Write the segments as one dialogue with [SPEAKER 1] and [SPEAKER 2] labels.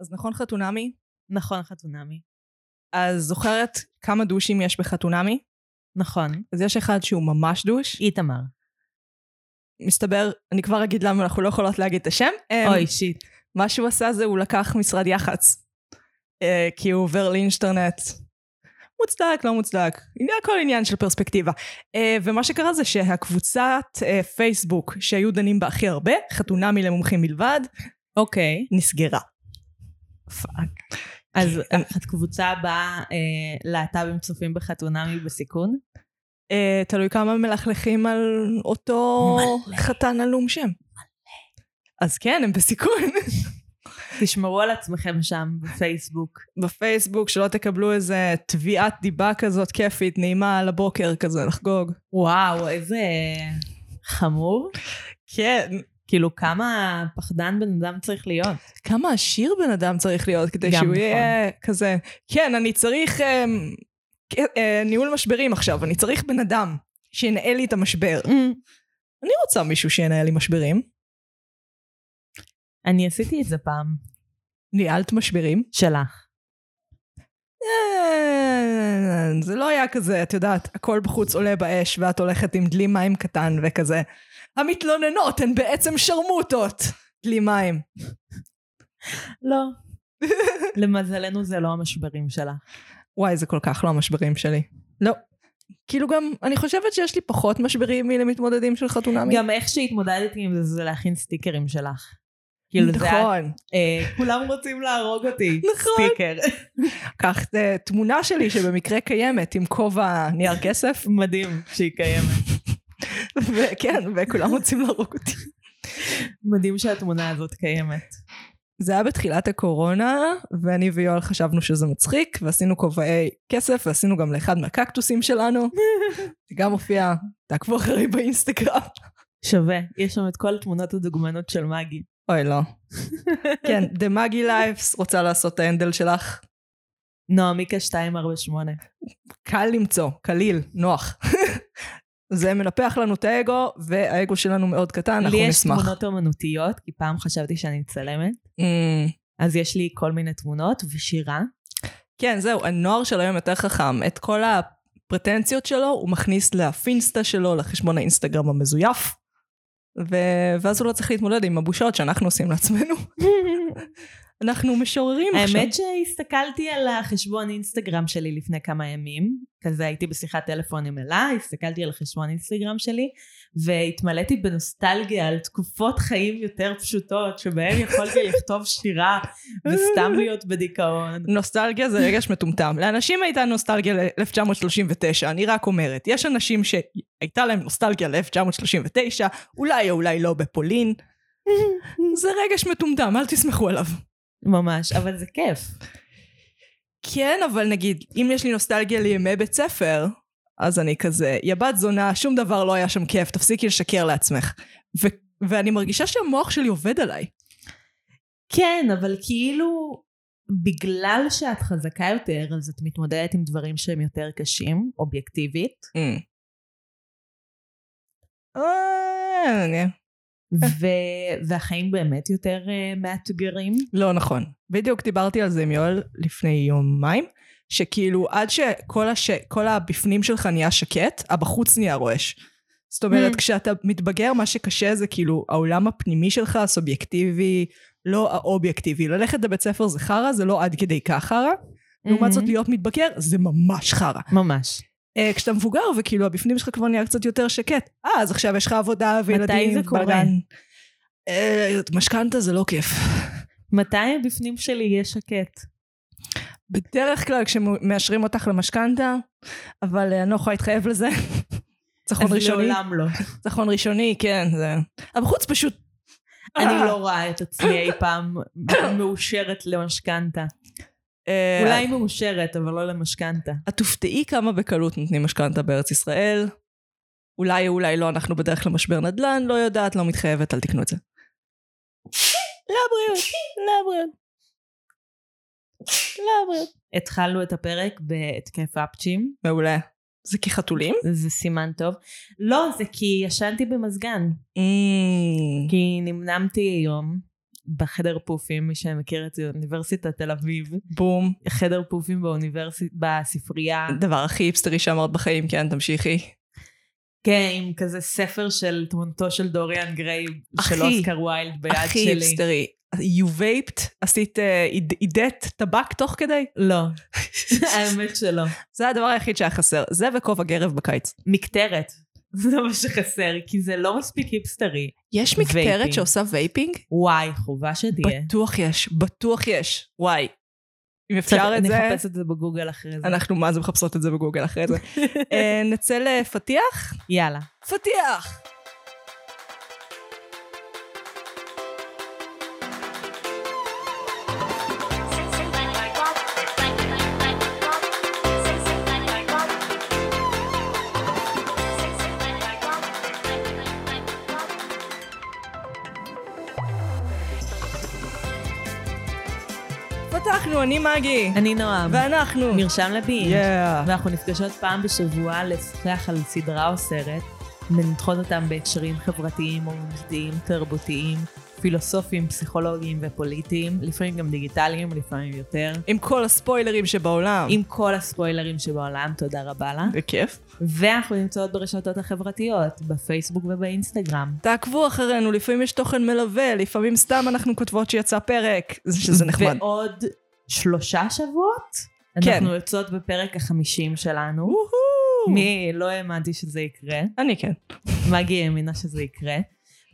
[SPEAKER 1] אז נכון חתונמי?
[SPEAKER 2] נכון, חתונמי.
[SPEAKER 1] אז זוכרת כמה דושים יש בחתונמי?
[SPEAKER 2] נכון.
[SPEAKER 1] אז יש אחד שהוא ממש דוש.
[SPEAKER 2] איתמר.
[SPEAKER 1] מסתבר, אני כבר אגיד למה אנחנו לא יכולות להגיד את השם. אמ,
[SPEAKER 2] אוי, שיט.
[SPEAKER 1] מה שהוא עשה זה הוא לקח משרד יח"צ. אה, כי הוא עובר לאינשטרנט. מוצדק, לא מוצדק. עניין- הכל עניין של פרספקטיבה. אה, ומה שקרה זה שהקבוצת אה, פייסבוק שהיו דנים בה הכי הרבה, חתונמי למומחים בלבד,
[SPEAKER 2] אוקיי.
[SPEAKER 1] נסגרה.
[SPEAKER 2] פאק. אה, אז
[SPEAKER 1] כן.
[SPEAKER 2] הקבוצה הבאה, אה, להט"בים צופים בחתונמי בסיכון?
[SPEAKER 1] אה, תלוי כמה מלכלכים על אותו
[SPEAKER 2] מלא.
[SPEAKER 1] חתן עלום שם. אז כן, הם בסיכון.
[SPEAKER 2] תשמרו על עצמכם שם בפייסבוק.
[SPEAKER 1] בפייסבוק, שלא תקבלו איזה תביעת דיבה כזאת כיפית, נעימה על הבוקר כזה, לחגוג.
[SPEAKER 2] וואו, איזה חמור.
[SPEAKER 1] כן.
[SPEAKER 2] כאילו, כמה פחדן בן אדם צריך להיות.
[SPEAKER 1] כמה עשיר בן אדם צריך להיות כדי
[SPEAKER 2] גם
[SPEAKER 1] שהוא
[SPEAKER 2] נכון.
[SPEAKER 1] יהיה כזה, כן, אני צריך אה, אה, ניהול משברים עכשיו, אני צריך בן אדם שינהל לי את המשבר. אני רוצה מישהו שינהל לי משברים.
[SPEAKER 2] אני עשיתי את זה פעם.
[SPEAKER 1] ניהלת משברים?
[SPEAKER 2] שלך.
[SPEAKER 1] אה, זה לא היה כזה, את יודעת, הכל בחוץ עולה באש ואת הולכת עם דלי מים קטן וכזה. המתלוננות הן בעצם שרמוטות. דלי מים.
[SPEAKER 2] לא. למזלנו זה לא המשברים שלך.
[SPEAKER 1] וואי, זה כל כך לא המשברים שלי. לא. כאילו גם, אני חושבת שיש לי פחות משברים מלמתמודדים של חתונמי.
[SPEAKER 2] גם איך שהתמודדתי עם זה, זה להכין סטיקרים שלך. כאילו זה היה,
[SPEAKER 1] נכון.
[SPEAKER 2] אה, כולם רוצים להרוג אותי.
[SPEAKER 1] נכון.
[SPEAKER 2] סטיקר.
[SPEAKER 1] קח אה, תמונה שלי שבמקרה קיימת עם כובע נייר כסף,
[SPEAKER 2] מדהים שהיא קיימת.
[SPEAKER 1] וכן, וכולם רוצים להרוג אותי.
[SPEAKER 2] מדהים שהתמונה הזאת קיימת.
[SPEAKER 1] זה היה בתחילת הקורונה, ואני ויואל חשבנו שזה מצחיק, ועשינו כובעי כסף, ועשינו גם לאחד מהקקטוסים שלנו. זה גם הופיע, תעקבו אחרי באינסטגרם.
[SPEAKER 2] שווה. יש שם את כל התמונות הדוגמנות של מגי.
[SPEAKER 1] אוי, לא. כן, The Maggie Lives רוצה לעשות את ההנדל שלך.
[SPEAKER 2] נועמיקה 248.
[SPEAKER 1] קל למצוא, קליל, נוח. זה מנפח לנו את האגו, והאגו שלנו מאוד קטן, אנחנו
[SPEAKER 2] לי יש
[SPEAKER 1] נשמח.
[SPEAKER 2] תמונות אומנותיות, כי פעם חשבתי שאני מצלמת,
[SPEAKER 1] Mm.
[SPEAKER 2] אז יש לי כל מיני תמונות ושירה.
[SPEAKER 1] כן, זהו, הנוער של היום יותר חכם. את כל הפרטנציות שלו הוא מכניס לפינסטה שלו, לחשבון האינסטגרם המזויף, ו... ואז הוא לא צריך להתמודד עם הבושות שאנחנו עושים לעצמנו. אנחנו משוררים עכשיו.
[SPEAKER 2] האמת שהסתכלתי על החשבון אינסטגרם שלי לפני כמה ימים, כזה הייתי בשיחת טלפון עם אלה, הסתכלתי על החשבון אינסטגרם שלי, והתמלאתי בנוסטלגיה על תקופות חיים יותר פשוטות, שבהן יכולתי לכתוב שירה וסתם להיות בדיכאון.
[SPEAKER 1] נוסטלגיה זה רגש מטומטם. לאנשים הייתה נוסטלגיה ל-1939, אני רק אומרת. יש אנשים שהייתה להם נוסטלגיה ל-1939, אולי או אולי לא בפולין. זה רגש מטומטם, אל תסמכו עליו.
[SPEAKER 2] ממש, אבל זה כיף.
[SPEAKER 1] כן, אבל נגיד, אם יש לי נוסטלגיה לימי בית ספר, אז אני כזה, יא בת זונה, שום דבר לא היה שם כיף, תפסיקי לשקר לעצמך. ו- ואני מרגישה שהמוח שלי עובד עליי.
[SPEAKER 2] כן, אבל כאילו, בגלל שאת חזקה יותר, אז את מתמודדת עם דברים שהם יותר קשים, אובייקטיבית,
[SPEAKER 1] אה, אני-
[SPEAKER 2] ו- והחיים באמת יותר אה, מאתגרים.
[SPEAKER 1] לא נכון. בדיוק דיברתי על זה עם יואל לפני יומיים, שכאילו עד שכל הש... כל הבפנים שלך נהיה שקט, הבחוץ נהיה רועש. זאת אומרת,
[SPEAKER 2] Mm.
[SPEAKER 1] כשאתה מתבגר, מה שקשה זה כאילו העולם הפנימי שלך, הסובייקטיבי, לא האובייקטיבי. ללכת לבית ספר זה חרא, זה לא עד כדי כך חרא. לעומת
[SPEAKER 2] Mm-hmm.
[SPEAKER 1] זאת, להיות מתבגר זה ממש חרא.
[SPEAKER 2] ממש.
[SPEAKER 1] אה, כשאתה מבוגר וכאילו הבפנים שלך כבר נהיה קצת יותר שקט. אה, אז עכשיו יש לך עבודה וילדים.
[SPEAKER 2] זה קורה?
[SPEAKER 1] בלגן. אה, משכנתה זה לא כיף.
[SPEAKER 2] מתי הבפנים שלי יהיה שקט?
[SPEAKER 1] בדרך כלל כשמאשרים אותך למשכנתה, אבל אה, אני לא יכולה להתחייב לזה. צחון ראשוני,
[SPEAKER 2] לעולם לא.
[SPEAKER 1] צחון ראשוני, כן, זה... הבחוץ פשוט...
[SPEAKER 2] אני לא רואה את עצמי אי פעם מאושרת למשכנתה.
[SPEAKER 1] אה,
[SPEAKER 2] אולי מאושרת, אבל לא למשכנתה.
[SPEAKER 1] את תופתעי כמה בקלות נותנים משכנתה בארץ ישראל. אולי, אולי לא, אנחנו בדרך למשבר נדל"ן, לא יודעת, לא מתחייבת, אל תקנו את זה.
[SPEAKER 2] לבריאות, לבריאות. לבריאות. התחלנו את הפרק בהתקף אפצ'ים.
[SPEAKER 1] מעולה. זה כחתולים?
[SPEAKER 2] זה סימן טוב. לא, זה כי ישנתי במזגן.
[SPEAKER 1] Mm,
[SPEAKER 2] כי נמנמתי היום, בחדר פופים, מי שמכיר את זה, אוניברסיטת תל אביב,
[SPEAKER 1] בום.
[SPEAKER 2] חדר פופים באוניברסיטה, בספרייה,
[SPEAKER 1] הדבר הכי היפסטרי שאמרת בחיים, כן, תמשיכי.
[SPEAKER 2] כן, עם כזה ספר של תמונתו של דוריאן גריי, של
[SPEAKER 1] אחי,
[SPEAKER 2] אוסקר ויילד ביד
[SPEAKER 1] הכי
[SPEAKER 2] שלי.
[SPEAKER 1] היפסטרי. You vaped? עשית אה, עיד- עידת טבק תוך כדי?
[SPEAKER 2] לא, האמת שלא.
[SPEAKER 1] זה הדבר היחיד שהיה חסר. זה וכובע גרב בקיץ.
[SPEAKER 2] מקטרת, זה מה שחסר, כי זה לא מספיק היפסטרי.
[SPEAKER 1] יש
[SPEAKER 2] וייפינג.
[SPEAKER 1] מקטרת שעושה וייפינג?
[SPEAKER 2] וואי, חובה שתהיה.
[SPEAKER 1] בטוח יש, בטוח יש. וואי. אם
[SPEAKER 2] צריך-
[SPEAKER 1] אפשר את זה,
[SPEAKER 2] נחפש את זה בגוגל אחרי זה.
[SPEAKER 1] אנחנו מה זה מחפשות את זה בגוגל אחרי זה. אה, נצא לפתיח?
[SPEAKER 2] יאללה.
[SPEAKER 1] פתיח! פתחנו, אני מגי.
[SPEAKER 2] אני נועם,
[SPEAKER 1] ואנחנו.
[SPEAKER 2] מרשם לבינג',
[SPEAKER 1] יאה.
[SPEAKER 2] ואנחנו נפגשות פעם בשבוע לשוחח על סדרה או סרט, מנתחות אותם בהקשרים חברתיים, אומנותיים, תרבותיים, פילוסופיים, פסיכולוגיים ופוליטיים, לפעמים גם דיגיטליים, לפעמים יותר.
[SPEAKER 1] עם כל הספוילרים שבעולם.
[SPEAKER 2] עם כל הספוילרים שבעולם, תודה רבה לה.
[SPEAKER 1] בכיף.
[SPEAKER 2] ואנחנו נמצאות ברשתות החברתיות, בפייסבוק ובאינסטגרם.
[SPEAKER 1] תעקבו אחרינו, לפעמים יש תוכן מלווה, לפעמים סתם אנחנו כותבות שיצא פרק, זה- שזה נחמד.
[SPEAKER 2] ועוד שלושה שבועות,
[SPEAKER 1] כן.
[SPEAKER 2] אנחנו יוצאות בפרק החמישים שלנו.
[SPEAKER 1] וואו.
[SPEAKER 2] מי לא האמנתי שזה יקרה,
[SPEAKER 1] אני כן.
[SPEAKER 2] מגי האמינה שזה יקרה.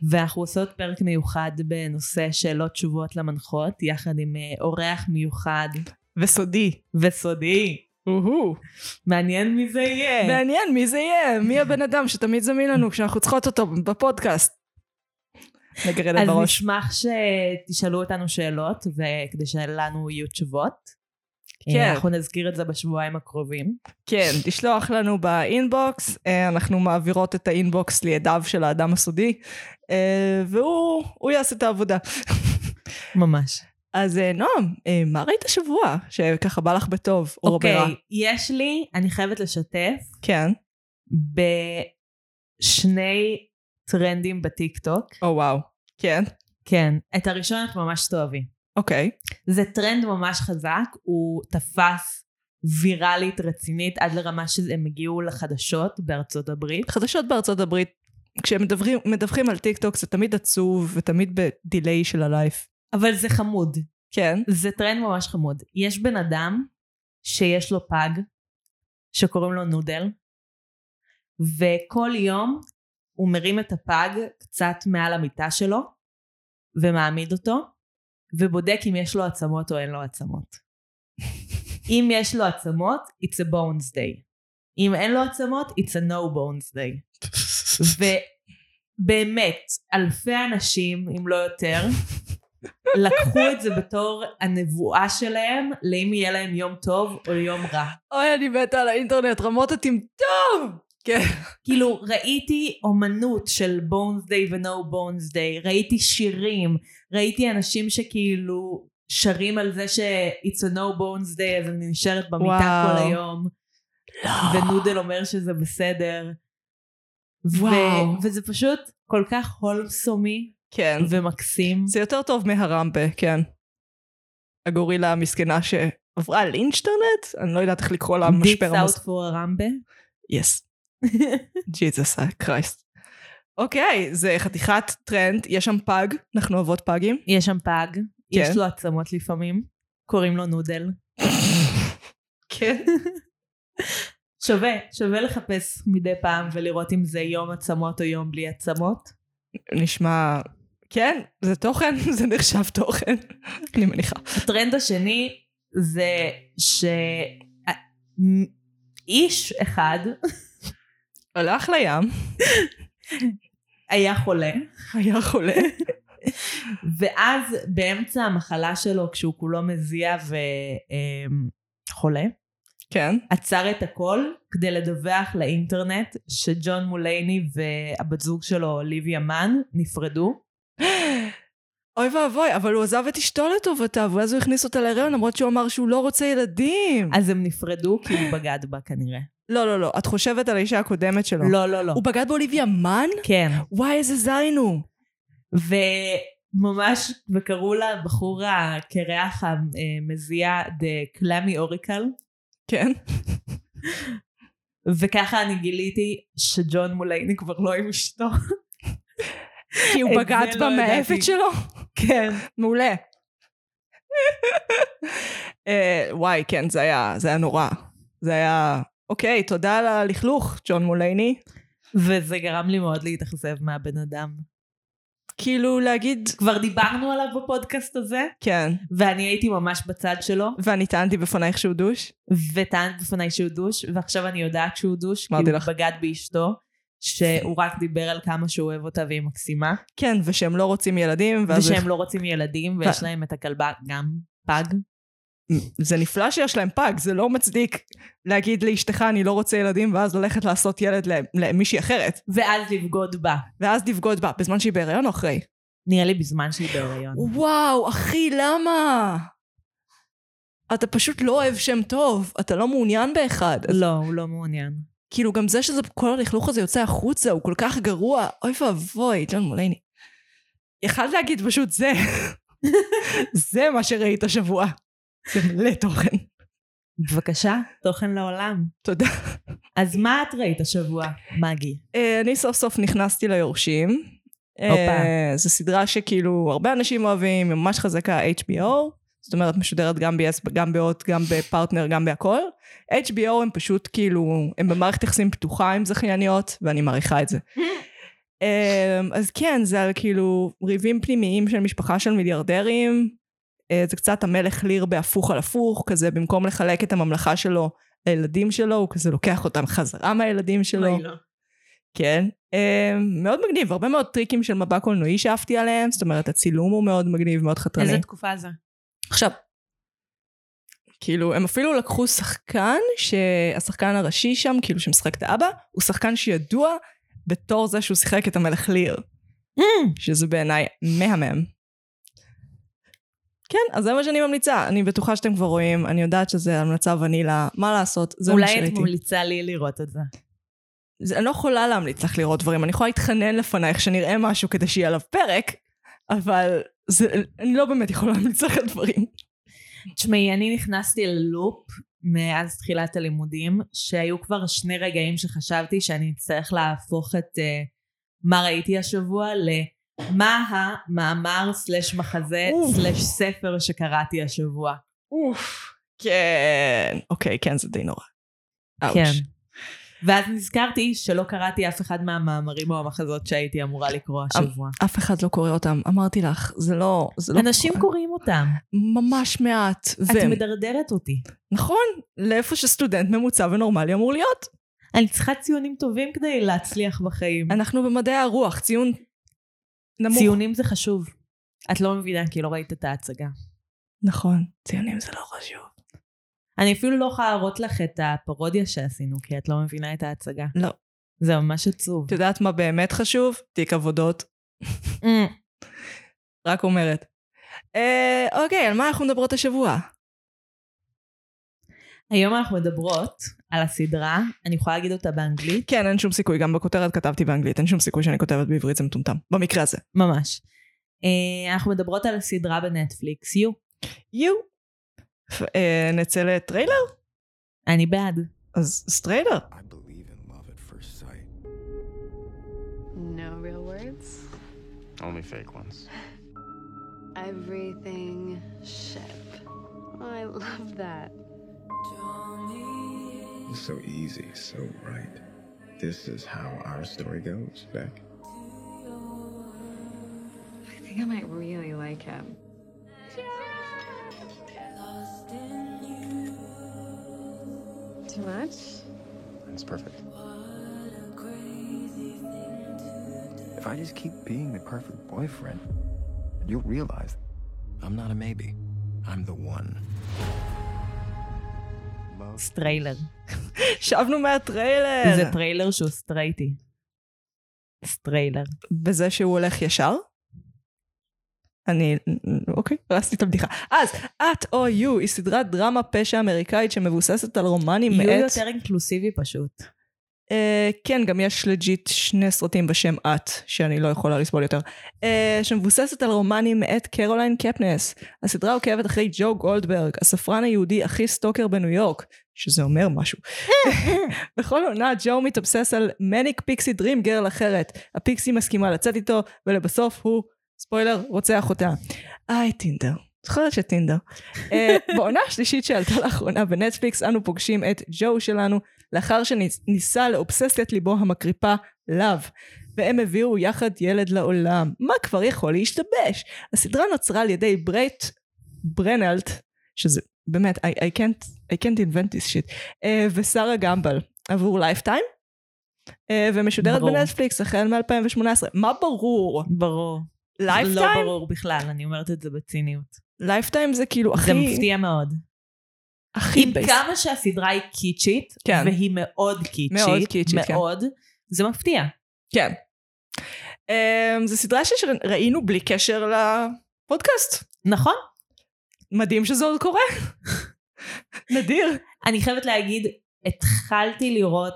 [SPEAKER 2] ואנחנו עושות פרק מיוחד בנושא שאלות תשובות למנחות, יחד עם אה, אורח מיוחד
[SPEAKER 1] וסודי.
[SPEAKER 2] וסודי.
[SPEAKER 1] וואו.
[SPEAKER 2] מעניין מי זה
[SPEAKER 1] כן.
[SPEAKER 2] יהיה.
[SPEAKER 1] מעניין מי זה יהיה, מי הבן אדם שתמיד זמין לנו כשאנחנו צריכות אותו בפודקאסט. נגרד
[SPEAKER 2] אז
[SPEAKER 1] בראש.
[SPEAKER 2] נשמח שתשאלו אותנו שאלות, וכדי שלנו יהיו תשובות.
[SPEAKER 1] כן.
[SPEAKER 2] אה, אנחנו נזכיר את זה בשבועיים הקרובים.
[SPEAKER 1] כן, תשלוח לנו באינבוקס, אה, אנחנו מעבירות את האינבוקס לידיו של האדם הסודי, אה, והוא הוא יעשה את העבודה.
[SPEAKER 2] ממש.
[SPEAKER 1] אז אה, נועם, אה, מה ראית השבוע שככה בא לך בטוב, או
[SPEAKER 2] אוקיי,
[SPEAKER 1] ברע?
[SPEAKER 2] יש לי, אני חייבת לשתף,
[SPEAKER 1] כן.
[SPEAKER 2] בשני טרנדים בטיקטוק.
[SPEAKER 1] או וואו. כן,
[SPEAKER 2] כן. את הראשון את ממש תאהבי.
[SPEAKER 1] אוקיי.
[SPEAKER 2] זה טרנד ממש חזק, הוא תפס ויראלית רצינית עד לרמה שהם הגיעו לחדשות בארצות הברית.
[SPEAKER 1] חדשות בארצות הברית, כשמדווחים מדווחים על טיק טוק זה תמיד עצוב ותמיד בדיליי של הלייף.
[SPEAKER 2] אבל זה חמוד,
[SPEAKER 1] כן.
[SPEAKER 2] זה טרנד ממש חמוד. יש בן אדם שיש לו פג, שקוראים לו נודל, וכל יום הוא מרים את הפג קצת מעל המיטה שלו, ומעמיד אותו, ובודק אם יש לו עצמות או אין לו עצמות. אם יש לו עצמות, it's a bones day. אם אין לו עצמות, it's a no bones day. ובאמת, אלפי אנשים, אם לא יותר, לקחו את זה בתור הנבואה שלהם, לאם יהיה להם יום טוב או יום רע.
[SPEAKER 1] אוי, אני מתה על האינטרנט, רמות הטמטום! כן.
[SPEAKER 2] כאילו, ראיתי אומנות של בונס דיי ונו בונס דיי, ראיתי שירים, ראיתי אנשים שכאילו שרים על זה ש-it's a no bones day, אז אני נשארת במיטה
[SPEAKER 1] וואו.
[SPEAKER 2] כל היום, לא. ונודל אומר שזה בסדר.
[SPEAKER 1] וואו.
[SPEAKER 2] ו- וזה פשוט כל כך הולמסומי
[SPEAKER 1] כן.
[SPEAKER 2] ומקסים.
[SPEAKER 1] זה יותר טוב מהרמבה, כן. הגורילה המסכנה שעברה על אינשטרנט? אני לא יודעת איך לקרוא לה
[SPEAKER 2] Deep
[SPEAKER 1] משבר המוס...
[SPEAKER 2] South for הרמבה.
[SPEAKER 1] יס. ג'יזוס קרייסט. אוקיי, זה חתיכת טרנד, יש שם פג, אנחנו אוהבות פאגים.
[SPEAKER 2] יש שם פג, יש
[SPEAKER 1] כן.
[SPEAKER 2] לו עצמות לפעמים, קוראים לו נודל.
[SPEAKER 1] כן.
[SPEAKER 2] שווה, שווה לחפש מדי פעם ולראות אם זה יום עצמות או יום בלי עצמות.
[SPEAKER 1] נשמע... כן, זה תוכן, זה נחשב תוכן, אני מניחה.
[SPEAKER 2] הטרנד השני זה שאיש אחד
[SPEAKER 1] הלך לים,
[SPEAKER 2] היה חולה,
[SPEAKER 1] היה חולה.
[SPEAKER 2] ואז באמצע המחלה שלו, כשהוא כולו מזיע וחולה,
[SPEAKER 1] כן.
[SPEAKER 2] עצר את הכל כדי לדווח לאינטרנט שג'ון מולייני והבת זוג שלו, אוליביה מן, נפרדו.
[SPEAKER 1] אוי ואבוי, אבל הוא עזב את אשתו לטובתה, ואז הוא הכניס אותה להיריון, למרות שהוא אמר שהוא לא רוצה ילדים.
[SPEAKER 2] אז הם נפרדו כי הוא בגד בה כנראה.
[SPEAKER 1] לא, לא, לא, את חושבת על האישה הקודמת שלו.
[SPEAKER 2] לא, לא, לא.
[SPEAKER 1] הוא בגד באוליביה מן?
[SPEAKER 2] כן.
[SPEAKER 1] וואי, איזה זין הוא.
[SPEAKER 2] ו... ממש, וקראו לבחור הקרח המזיע The Clammy Oracle,
[SPEAKER 1] כן.
[SPEAKER 2] וככה אני גיליתי שג'ון מולייני כבר לא עם אשתו.
[SPEAKER 1] כי הוא
[SPEAKER 2] את זה
[SPEAKER 1] בגד
[SPEAKER 2] לא
[SPEAKER 1] במאפת
[SPEAKER 2] ידעתי.
[SPEAKER 1] שלו.
[SPEAKER 2] כן.
[SPEAKER 1] מעולה. אה, וואי, כן, זה היה, זה היה נורא. זה היה, אוקיי, תודה על הלכלוך, ג'ון מולייני.
[SPEAKER 2] וזה גרם לי מאוד להתאכזב מהבן אדם.
[SPEAKER 1] כאילו להגיד,
[SPEAKER 2] כבר דיברנו עליו בפודקאסט הזה,
[SPEAKER 1] כן,
[SPEAKER 2] ואני הייתי ממש בצד שלו,
[SPEAKER 1] ואני טענתי בפנייך שהוא דוש.
[SPEAKER 2] וטענת בפניי שהוא דוש, ועכשיו אני יודעת שהוא דוש, כי
[SPEAKER 1] אמרתי
[SPEAKER 2] הוא
[SPEAKER 1] לך.
[SPEAKER 2] בגד באשתו, שהוא רק דיבר על כמה שהוא אוהב אותה והיא מקסימה,
[SPEAKER 1] כן, ושהם לא רוצים ילדים, ואז
[SPEAKER 2] ושהם לא רוצים ילדים, ויש להם את הכלבה גם פג.
[SPEAKER 1] זה נפלא שיש להם פג, זה לא מצדיק להגיד לאשתך אני לא רוצה ילדים, ואז ללכת לעשות ילד ל- למישהי אחרת,
[SPEAKER 2] ואז לבגוד בה.
[SPEAKER 1] ואז לבגוד בה, בזמן שהיא בהיריון או אחרי?
[SPEAKER 2] נראה לי בזמן שהיא בהיריון.
[SPEAKER 1] וואו, אחי, למה? אתה פשוט לא אוהב שם טוב, אתה לא מעוניין באחד. אז
[SPEAKER 2] לא, הוא לא מעוניין.
[SPEAKER 1] כאילו, גם זה שזה, כל הלכלוך הזה יוצא החוצה, הוא כל כך גרוע, אוי ואבוי, ג'ון מולייני. יכלת להגיד פשוט זה. זה מה שראית השבוע. זה מלא תוכן.
[SPEAKER 2] בבקשה, תוכן לעולם.
[SPEAKER 1] תודה.
[SPEAKER 2] אז מה את ראית השבוע, מגי?
[SPEAKER 1] אה, אני סוף סוף נכנסתי ליורשים. אה,
[SPEAKER 2] הופה.
[SPEAKER 1] זו סדרה שכאילו הרבה אנשים אוהבים, היא ממש חזקה, HBO. זאת אומרת, משודרת גם ב-yes, גם בהוט, גם בפרטנר, גם בהכל. HBO הם פשוט כאילו, הם במערכת יחסים פתוחה עם זכייניות, ואני מעריכה את זה. אה, אז כן, זה על כאילו ריבים פנימיים של משפחה של מיליארדרים. אה, זה קצת המלך ליר בהפוך על הפוך, כזה במקום לחלק את הממלכה שלו לילדים שלו, הוא כזה לוקח אותם חזרה מהילדים שלו. כן. אה, מאוד מגניב, הרבה מאוד טריקים של מבע קולנועי שאהבתי עליהם, זאת אומרת הצילום הוא מאוד מגניב, מאוד חתרני.
[SPEAKER 2] איזה תקופה זה?
[SPEAKER 1] עכשיו, כאילו, הם אפילו לקחו שחקן, שהשחקן הראשי שם, כאילו שמשחק את האבא, הוא שחקן שידוע בתור זה שהוא שיחק את המלך ליר, שזה בעיניי מהמם. כן, אז זה מה שאני ממליצה. אני בטוחה שאתם כבר רואים, אני יודעת שזה המלצה ונילה, מה לעשות, זה מה
[SPEAKER 2] אולי את
[SPEAKER 1] שראיתי.
[SPEAKER 2] ממליצה לי לראות את זה.
[SPEAKER 1] זה, אני לא יכולה להמליץ לך לראות דברים, אני יכולה להתחנן לפנייך שנראה משהו כדי שיהיה עליו פרק, אבל זה, אני לא באמת יכולה להמליץ לך על דברים.
[SPEAKER 2] תשמעי, אני נכנסתי ללופ מאז תחילת הלימודים, שהיו כבר שני רגעים שחשבתי שאני אצטרך להפוך את אה, מה ראיתי השבוע למה המאמר סלש מחזה
[SPEAKER 1] אוף.
[SPEAKER 2] סלש ספר שקראתי השבוע.
[SPEAKER 1] אוף. כן. אוקיי, כן, זה די נורא. אאוץ'.
[SPEAKER 2] כן. ואז נזכרתי שלא קראתי אף אחד מהמאמרים או המחזות שהייתי אמורה לקרוא השבוע.
[SPEAKER 1] אף אחד לא קורא אותם, אמרתי לך, זה לא... זה לא
[SPEAKER 2] אנשים קוראים אותם.
[SPEAKER 1] ממש מעט.
[SPEAKER 2] את
[SPEAKER 1] והם-
[SPEAKER 2] מדרדרת אותי.
[SPEAKER 1] נכון, לאיפה שסטודנט ממוצע ונורמלי אמור להיות.
[SPEAKER 2] אני צריכה ציונים טובים כדי להצליח בחיים.
[SPEAKER 1] אנחנו במדעי הרוח, ציון נמוך.
[SPEAKER 2] ציונים זה חשוב. את לא מבינה כי לא ראית את ההצגה.
[SPEAKER 1] נכון, ציונים זה לא חשוב.
[SPEAKER 2] אני אפילו לא יכולה להראות לך את הפרודיה שעשינו, כי את לא מבינה את ההצגה.
[SPEAKER 1] לא.
[SPEAKER 2] זה ממש עצוב.
[SPEAKER 1] את יודעת מה באמת חשוב? תיק עבודות.
[SPEAKER 2] Mm.
[SPEAKER 1] רק אומרת. אה, אוקיי, על מה אנחנו מדברות השבוע?
[SPEAKER 2] היום אנחנו מדברות על הסדרה, אני יכולה להגיד אותה באנגלית,
[SPEAKER 1] כן, אין שום סיכוי, גם בכותרת כתבתי באנגלית, אין שום סיכוי שאני כותבת בעברית, זה מטומטם. במקרה הזה.
[SPEAKER 2] ממש. אה, אנחנו מדברות על הסדרה בנטפליקס, יו.
[SPEAKER 1] יו. פ- אה, נצא לטריילר?
[SPEAKER 2] אני בעד.
[SPEAKER 1] אז אז טריילר.
[SPEAKER 3] I believe in love at first sight.
[SPEAKER 4] No real words.
[SPEAKER 3] Only fake ones.
[SPEAKER 4] Everything ship. Oh, I love that.
[SPEAKER 3] So easy, so right. This is how our story goes, Beck.
[SPEAKER 4] I think I might really like him. Too much?
[SPEAKER 3] That's perfect. If I just keep being the perfect boyfriend, you'll realize I'm not a maybe. I'm the one. Love.
[SPEAKER 2] סטריילר.
[SPEAKER 1] שבנו מהטריילר.
[SPEAKER 2] זה טריילר שהוא סטרייטי. סטריילר.
[SPEAKER 1] בזה שהוא הולך ישר? אני, אוקיי, הרסתי את הבדיחה. אז, את או יו היא סדרת דרמה פשע אמריקאית שמבוססת על רומנים
[SPEAKER 2] יהיו
[SPEAKER 1] מאת...
[SPEAKER 2] יותר אינקלוסיבי פשוט.
[SPEAKER 1] אה, כן, גם יש לג'יט שני סרטים בשם את, שאני לא יכולה לסבול יותר, אה, שמבוססת על רומנים מאת קרוליין קפנס. הסדרה עוקבת אחרי ג'ו גולדברג, הספרן היהודי הכי סטוקר בניו יורק, שזה אומר משהו. בכל עונה ג'ו מתאבסס על מניק פיקסי דרים גרל אחרת. הפיקסי מסכימה לצאת איתו, ולבסוף הוא, ספוילר, רוצח אותה. איי, טינדר. זוכרת שטינדר. אה, בעונה השלישית שעלתה לאחרונה בנטפליקס, אנו פוגשים את ג'ו שלנו, לאחר שניסה לאובסס את ליבו המקריפה לאו. והם הביאו יחד ילד לעולם. מה כבר יכול להשתבש? הסדרה נוצרה על ידי ברייט ברנלט, שזה באמת, I, I, can't, I can't invent this shit, אה, ושרה גמבל עבור לייפטיים, אה, ומשודרת
[SPEAKER 2] ברור.
[SPEAKER 1] בנטפליקס החל מ-2018. מה ברור?
[SPEAKER 2] ברור.
[SPEAKER 1] לייפטיים?
[SPEAKER 2] לא ברור בכלל, אני אומרת את זה בציניות.
[SPEAKER 1] לייפטיים זה כאילו הכי...
[SPEAKER 2] זה מפתיע מאוד.
[SPEAKER 1] הכי
[SPEAKER 2] עם
[SPEAKER 1] basic.
[SPEAKER 2] כמה שהסדרה היא קיצ'ית,
[SPEAKER 1] כן.
[SPEAKER 2] והיא מאוד קיצ'ית,
[SPEAKER 1] מאוד קיצ'ית, כן.
[SPEAKER 2] מאוד, זה מפתיע.
[SPEAKER 1] כן. Um, זו סדרה שראינו בלי קשר לפודקאסט.
[SPEAKER 2] נכון?
[SPEAKER 1] מדהים שזה עוד קורה. נדיר.
[SPEAKER 2] אני חייבת להגיד, התחלתי לראות,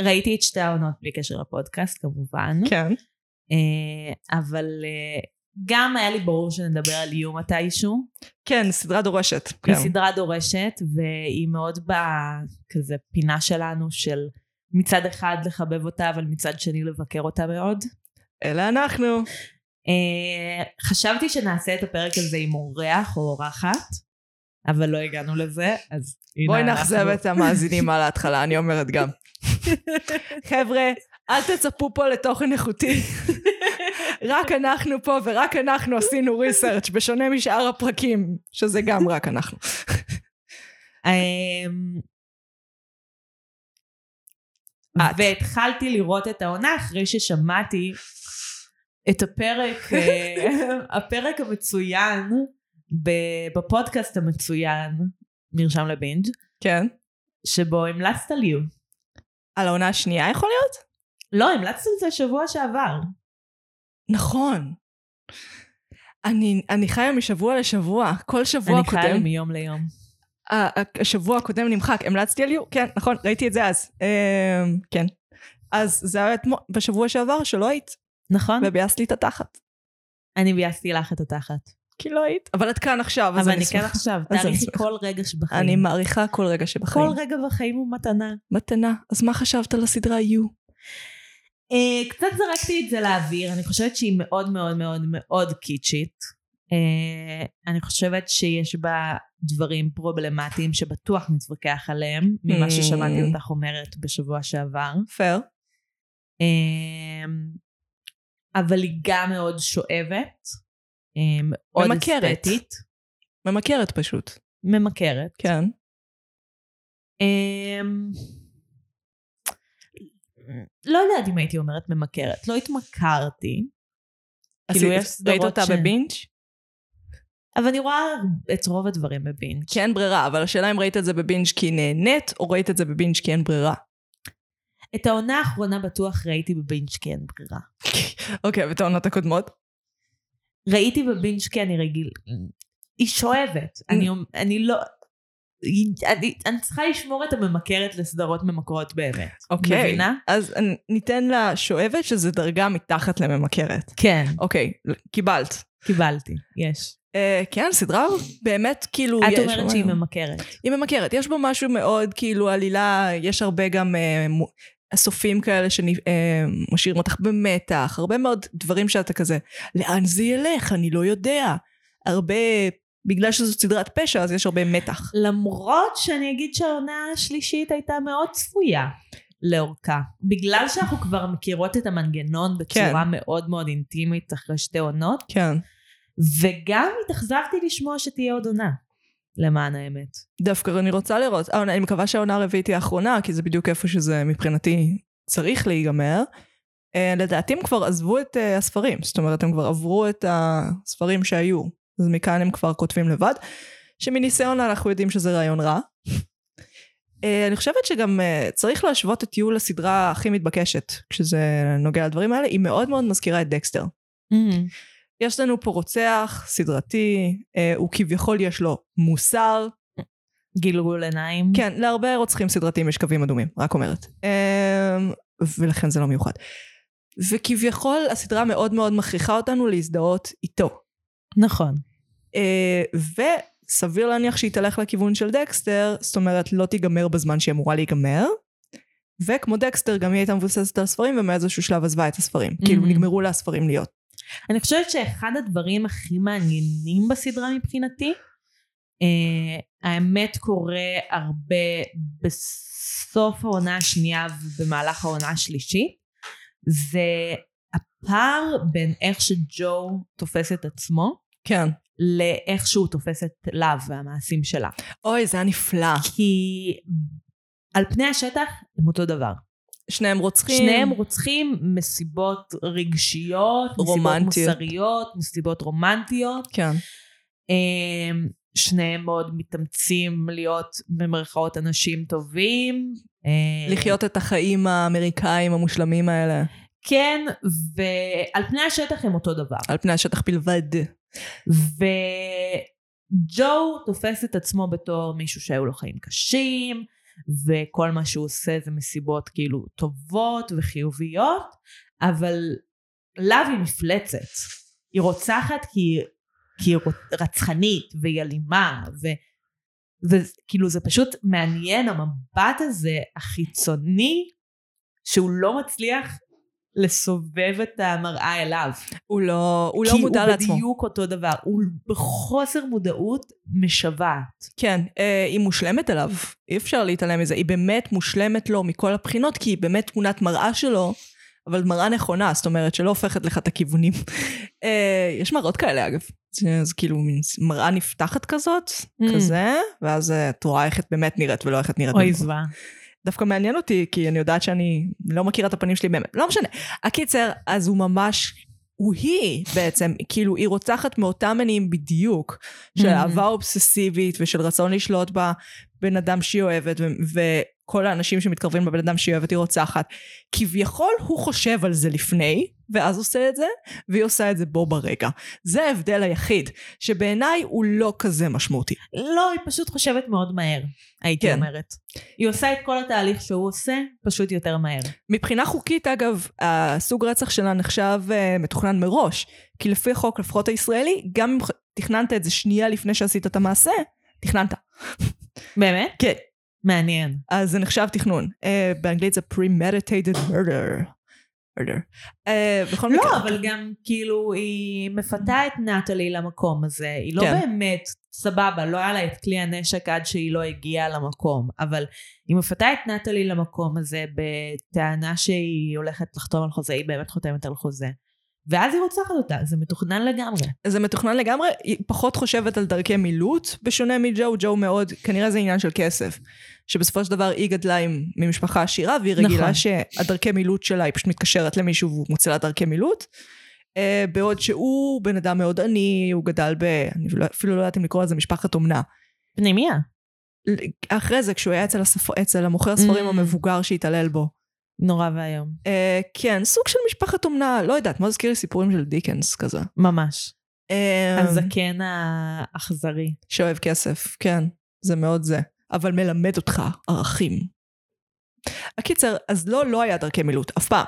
[SPEAKER 2] ראיתי את שתי העונות בלי קשר לפודקאסט כמובן,
[SPEAKER 1] כן.
[SPEAKER 2] אה, אבל אה, גם היה לי ברור שנדבר על איום מתישהו.
[SPEAKER 1] כן, סדרה דורשת.
[SPEAKER 2] כן.
[SPEAKER 1] כן.
[SPEAKER 2] היא סדרה דורשת, והיא מאוד בכזה פינה שלנו של מצד אחד לחבב אותה, אבל מצד שני לבקר אותה מאוד.
[SPEAKER 1] אלה אנחנו.
[SPEAKER 2] אה, חשבתי שנעשה את הפרק הזה עם אורח או אורחת, אבל לא הגענו לזה, אז הנה
[SPEAKER 1] בואי
[SPEAKER 2] אנחנו.
[SPEAKER 1] נאכזב את המאזינים על ההתחלה, אני אומרת גם. חבר'ה, אל תצפו פה לתוכן איכותי. רק אנחנו פה ורק אנחנו עשינו ריסרצ' בשונה משאר הפרקים, שזה גם רק אנחנו.
[SPEAKER 2] אמ,
[SPEAKER 1] את.
[SPEAKER 2] והתחלתי לראות את העונה אחרי ששמעתי את הפרק, אה, הפרק המצוין ב- בפודקאסט המצוין, מרשם לבינג',
[SPEAKER 1] כן.
[SPEAKER 2] שבו המלצת לי.
[SPEAKER 1] על העונה השנייה יכול להיות?
[SPEAKER 2] לא, המלצת את זה שבוע שעבר.
[SPEAKER 1] נכון. אני, אני חיה משבוע לשבוע, כל שבוע
[SPEAKER 2] אני
[SPEAKER 1] הקודם,
[SPEAKER 2] חיה לי מיום ליום.
[SPEAKER 1] ה- ה- השבוע הקודם נמחק, המלצתי על יו, כן, נכון, ראיתי את זה אז, אמ, כן. אז זה היה אתמול, בשבוע שעבר שלא היית,
[SPEAKER 2] נכון?
[SPEAKER 1] וביאסת לי את התחת,
[SPEAKER 2] אני ביאסתי לך את התחת.
[SPEAKER 1] כי לא היית, אבל את כאן עכשיו, אז
[SPEAKER 2] אבל
[SPEAKER 1] אני
[SPEAKER 2] אני כן
[SPEAKER 1] שמחה.
[SPEAKER 2] עכשיו,
[SPEAKER 1] אני
[SPEAKER 2] תאריכי
[SPEAKER 1] שמחה.
[SPEAKER 2] כל רגע שבחיים.
[SPEAKER 1] אני מעריכה כל רגע שבחיים.
[SPEAKER 2] כל רגע בחיים הוא מתנה.
[SPEAKER 1] מתנה, אז מה חשבת על הסדרה יו?
[SPEAKER 2] אה, קצת זרקתי את זה לאוויר, אני חושבת שהיא מאוד מאוד מאוד מאוד קיצ'ית. אה, אני חושבת שיש בה דברים פרובלמטיים שבטוח נתווכח עליהם, ממה ששמעתי
[SPEAKER 1] Mm.
[SPEAKER 2] אותך אומרת בשבוע שעבר.
[SPEAKER 1] פייר.
[SPEAKER 2] אה, אבל היא גם מאוד שואבת, אה, מאוד
[SPEAKER 1] ממכרת.
[SPEAKER 2] אסתטית,
[SPEAKER 1] ממכרת פשוט.
[SPEAKER 2] ממכרת.
[SPEAKER 1] כן.
[SPEAKER 2] אמ, לא יודעת אם הייתי אומרת ממכרת, לא התמכרתי, כאילו,
[SPEAKER 1] עשית-
[SPEAKER 2] יש סדרות
[SPEAKER 1] ראית אותה
[SPEAKER 2] ש-
[SPEAKER 1] בבינג'?
[SPEAKER 2] אבל אני רואה את רוב הדברים בבינג'.
[SPEAKER 1] כי אין כן, ברירה, אבל השאלה אם ראית את זה בבינג' כי נהנית, או ראית את זה בבינג' כי אין ברירה.
[SPEAKER 2] את העונה האחרונה בטוח ראיתי בבינג' כי אין ברירה.
[SPEAKER 1] אוקיי, ואת העונות הקודמות?
[SPEAKER 2] ראיתי בבינג' כי אני רגיל... היא שואבת, אני, אומ- אני לא... היא- אני, אני צריכה לשמור את הממכרת לסדרות ממכרות באמת.
[SPEAKER 1] אוקיי.
[SPEAKER 2] מבינה?
[SPEAKER 1] אז נ- ניתן לה שואבת שזה דרגה מתחת לממכרת.
[SPEAKER 2] כן,
[SPEAKER 1] אוקיי, קיבלת.
[SPEAKER 2] קיבלתי, יש.
[SPEAKER 1] אה, כן, סדרה באמת כאילו...
[SPEAKER 2] את
[SPEAKER 1] יש-
[SPEAKER 2] אומרת שהיא ממכרת.
[SPEAKER 1] היא ממכרת. יש בה משהו מאוד כאילו עלילה, יש הרבה גם אה, מו- אסופים כאלה שמשאירים אותך במתח, הרבה מאוד דברים שאתה כזה, לאן זה ילך? אני לא יודע. הרבה, בגלל שזו סדרת פשע, אז יש הרבה מתח.
[SPEAKER 2] למרות שאני אגיד שהעונה השלישית הייתה מאוד צפויה לאורכה. בגלל שאנחנו כבר מכירות את המנגנון בצורה כן. מאוד מאוד אינטימית אחרי שתי עונות,
[SPEAKER 1] כן.
[SPEAKER 2] וגם התאכזבתי לשמוע שתהיה עוד עונה, למען האמת.
[SPEAKER 1] דווקא אני רוצה לראות, אה, אני מקווה שהעונה הרביעית היא האחרונה, כי זה בדיוק איפה שזה מבחינתי צריך להיגמר. אה, לדעתי הם כבר עזבו את אה, הספרים, זאת אומרת הם כבר עברו את הספרים שהיו, אז מכאן הם כבר כותבים לבד, שמניסיון אנחנו יודעים שזה רעיון רע. אה, אני חושבת שגם אה, צריך להשוות את יו לסדרה הכי מתבקשת, כשזה נוגע לדברים האלה, היא מאוד מאוד מזכירה את דקסטר.
[SPEAKER 2] Mm-hmm.
[SPEAKER 1] יש לנו פה רוצח סדרתי, אה, הוא כביכול יש לו מוסר,
[SPEAKER 2] גלגול עיניים.
[SPEAKER 1] כן, להרבה רוצחים סדרתיים יש קווים אדומים, רק אומרת. אמ, ולכן זה לא מיוחד. וכביכול הסדרה מאוד מאוד מכריחה אותנו להזדהות איתו.
[SPEAKER 2] נכון.
[SPEAKER 1] אה, וסביר להניח שהיא תלך לכיוון של דקסטר, זאת אומרת לא תיגמר בזמן שהיא אמורה להיגמר. וכמו דקסטר גם היא הייתה מבוססת על ספרים ומאיזשהו שלב עזבה את הספרים. Mm-hmm. כאילו נגמרו לה הספרים להיות.
[SPEAKER 2] אני חושבת שאחד הדברים הכי מעניינים בסדרה מבחינתי, אה, האמת קורה הרבה בסוף העונה השנייה ובמהלך העונה השלישית, זה הפער בין איך שג'ו תופס את עצמו
[SPEAKER 1] כן.
[SPEAKER 2] לאיך שהוא תופס את לאב והמעשים שלה.
[SPEAKER 1] אוי זה היה נפלא.
[SPEAKER 2] כי על פני השטח הם אותו דבר.
[SPEAKER 1] שניהם רוצחים.
[SPEAKER 2] שניהם רוצחים מסיבות רגשיות,
[SPEAKER 1] רומנטיות.
[SPEAKER 2] מסיבות מוסריות, מסיבות רומנטיות.
[SPEAKER 1] כן.
[SPEAKER 2] אמ, שניהם מאוד מתאמצים להיות במרכאות אנשים טובים. אמ,
[SPEAKER 1] לחיות את החיים האמריקאים המושלמים האלה.
[SPEAKER 2] כן, ועל פני השטח הם אותו דבר.
[SPEAKER 1] על פני השטח בלבד.
[SPEAKER 2] וג'ו תופס את עצמו בתור מישהו שהיו לו חיים קשים, וכל מה שהוא עושה זה מסיבות כאילו טובות וחיוביות, אבל לאו היא מפלצת. היא רוצחת כי היא, כי היא רוצ- רצחנית והיא אלימה, ו... וכאילו זה פשוט מעניין המבט הזה החיצוני שהוא לא מצליח לסובב את המראה אליו.
[SPEAKER 1] הוא לא, הוא לא מודע
[SPEAKER 2] כי
[SPEAKER 1] לעצמו.
[SPEAKER 2] הוא בדיוק אותו דבר, הוא בחוסר מודעות משוועת.
[SPEAKER 1] כן, אה, היא מושלמת עליו, אי אפשר להתעלם מזה. היא באמת מושלמת לו מכל הבחינות, כי היא באמת תמונת מראה שלו, אבל מראה נכונה, זאת אומרת, שלא הופכת לך את הכיוונים. אה, יש מראות כאלה, אגב. זה, זה כאילו מין מראה נפתחת כזאת,
[SPEAKER 2] Mm.
[SPEAKER 1] כזה, ואז אה, את רואה איך את באמת נראית ולא איך את נראית. במקום.
[SPEAKER 2] זוועה.
[SPEAKER 1] דווקא מעניין אותי, כי אני יודעת שאני לא מכירה את הפנים שלי באמת. לא משנה. הקיצר, אז הוא ממש... הוא היא בעצם, כאילו היא רוצחת מאותם מניעים בדיוק, של
[SPEAKER 2] Mhm.
[SPEAKER 1] אהבה אובססיבית ושל רצון לשלוט בבן אדם שהיא אוהבת, ו- וכל האנשים שמתקרבים לבן אדם שהיא אוהבת היא רוצחת. כביכול הוא חושב על זה לפני, ואז עושה את זה, והיא עושה את זה בו ברגע. זה ההבדל היחיד, שבעיניי הוא לא כזה משמעותי.
[SPEAKER 2] לא, היא פשוט חושבת מאוד מהר, הייתי
[SPEAKER 1] כן.
[SPEAKER 2] אומרת. היא עושה את כל התהליך שהוא עושה, פשוט יותר מהר.
[SPEAKER 1] מבחינה חוקית, אגב, הסוג רצח שלה נחשב uh, מתוכנן מראש. כי לפי חוק, לפחות הישראלי, גם אם ח- תכננת את זה שנייה לפני שעשית את המעשה, תכננת.
[SPEAKER 2] באמת?
[SPEAKER 1] כן.
[SPEAKER 2] מעניין.
[SPEAKER 1] אז זה נחשב תכנון. Uh, באנגלית זה premeditated murder. murder. Uh, בכל
[SPEAKER 2] לא,
[SPEAKER 1] מקרה.
[SPEAKER 2] אבל גם כאילו היא מפתה את נטלי למקום הזה, היא לא
[SPEAKER 1] כן.
[SPEAKER 2] באמת, סבבה, לא היה לה את כלי הנשק עד שהיא לא הגיעה למקום, אבל היא מפתה את נטלי למקום הזה בטענה שהיא הולכת לחתום על חוזה, היא באמת חותמת על חוזה. ואז היא רוצחת אותה, זה מתוכנן לגמרי.
[SPEAKER 1] זה מתוכנן לגמרי, היא פחות חושבת על דרכי מילוט, בשונה מג'ו, ג'ו מאוד, כנראה זה עניין של כסף. שבסופו של דבר היא גדלה עם, ממשפחה עשירה, והיא רגילה
[SPEAKER 2] נכון.
[SPEAKER 1] שהדרכי מילוט שלה, היא פשוט מתקשרת למישהו והוא מוצא לה דרכי מילוט. אה, בעוד שהוא בן אדם מאוד עני, הוא גדל ב... אני לא, אפילו לא יודעת אם לקרוא לזה משפחת אומנה.
[SPEAKER 2] פנימיה.
[SPEAKER 1] אחרי זה, כשהוא היה אצל, הספ... אצל המוכר הספרים
[SPEAKER 2] Mm.
[SPEAKER 1] המבוגר שהתעלל בו.
[SPEAKER 2] נורא ואיום.
[SPEAKER 1] אה, כן, סוג של משפחת אומנה, לא יודעת, מה מזכיר לי סיפורים של דיקנס כזה.
[SPEAKER 2] ממש.
[SPEAKER 1] אה,
[SPEAKER 2] הזקן האכזרי.
[SPEAKER 1] שאוהב כסף, כן, זה מאוד זה. אבל מלמד אותך ערכים. הקיצר, אז לא, לא היה דרכי מילוט, אף פעם.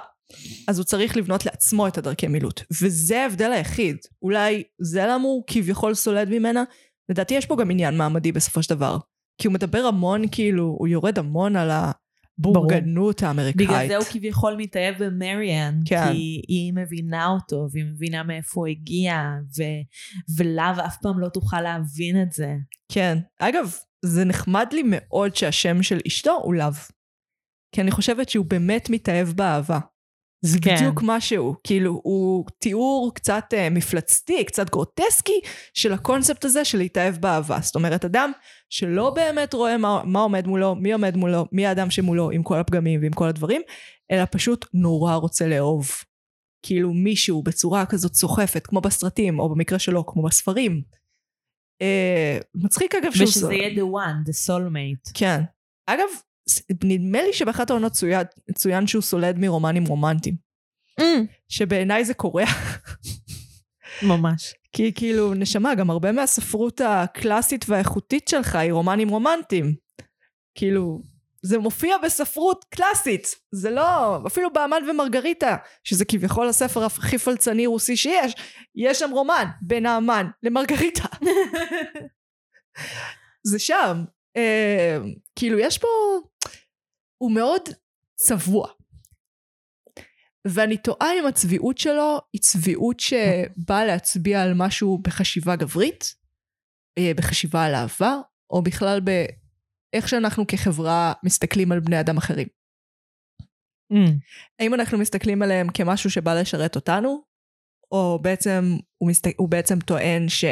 [SPEAKER 1] אז הוא צריך לבנות לעצמו את הדרכי מילוט. וזה ההבדל היחיד. אולי זה למה הוא כביכול סולד ממנה? לדעתי יש פה גם עניין מעמדי בסופו של דבר. כי הוא מדבר המון, כאילו, הוא יורד המון על הבורגנות האמריקאית.
[SPEAKER 2] בגלל זה הוא כביכול מתאהב במריאן,
[SPEAKER 1] כן.
[SPEAKER 2] כי היא מבינה אותו, והיא מבינה מאיפה הוא הגיע, ו... ולאו אף פעם לא תוכל להבין את זה.
[SPEAKER 1] כן. אגב, זה נחמד לי מאוד שהשם של אשתו הוא לאו. כי אני חושבת שהוא באמת מתאהב באהבה. זה
[SPEAKER 2] כן.
[SPEAKER 1] בדיוק מה שהוא. כאילו, הוא תיאור קצת אה, מפלצתי, קצת גרוטסקי, של הקונספט הזה של להתאהב באהבה. זאת אומרת, אדם שלא באמת רואה מה, מה עומד מולו, מי עומד מולו, מי האדם שמולו עם כל הפגמים ועם כל הדברים, אלא פשוט נורא רוצה לאהוב. כאילו מישהו בצורה כזאת סוחפת, כמו בסרטים, או במקרה שלו, כמו בספרים. אה, מצחיק אגב שהוא...
[SPEAKER 2] ושזה יהיה the one, the soulmate.
[SPEAKER 1] כן. אגב, ס- נדמה לי שבאחת העונות צוין, צוין שהוא סולד מרומנים רומנטיים. שבעיניי זה קורה.
[SPEAKER 2] ממש.
[SPEAKER 1] כי כאילו, נשמה, גם הרבה מהספרות הקלאסית והאיכותית שלך היא רומנים רומנטיים. כאילו, זה מופיע בספרות קלאסית. זה לא, אפילו באמן ומרגריטה, שזה כביכול הספר הכי פלצני רוסי שיש, יש שם רומן בין האמן למרגריטה. זה שם. אה, כאילו, יש פה... הוא מאוד צבוע. ואני תוהה אם הצביעות שלו היא צביעות שבאה להצביע על משהו בחשיבה גברית, אה, בחשיבה על העבר, או בכלל באיך שאנחנו כחברה מסתכלים על בני אדם אחרים. האם אנחנו מסתכלים עליהם כמשהו שבא לשרת אותנו, או בעצם הוא, מסת... הוא בעצם טוען ש...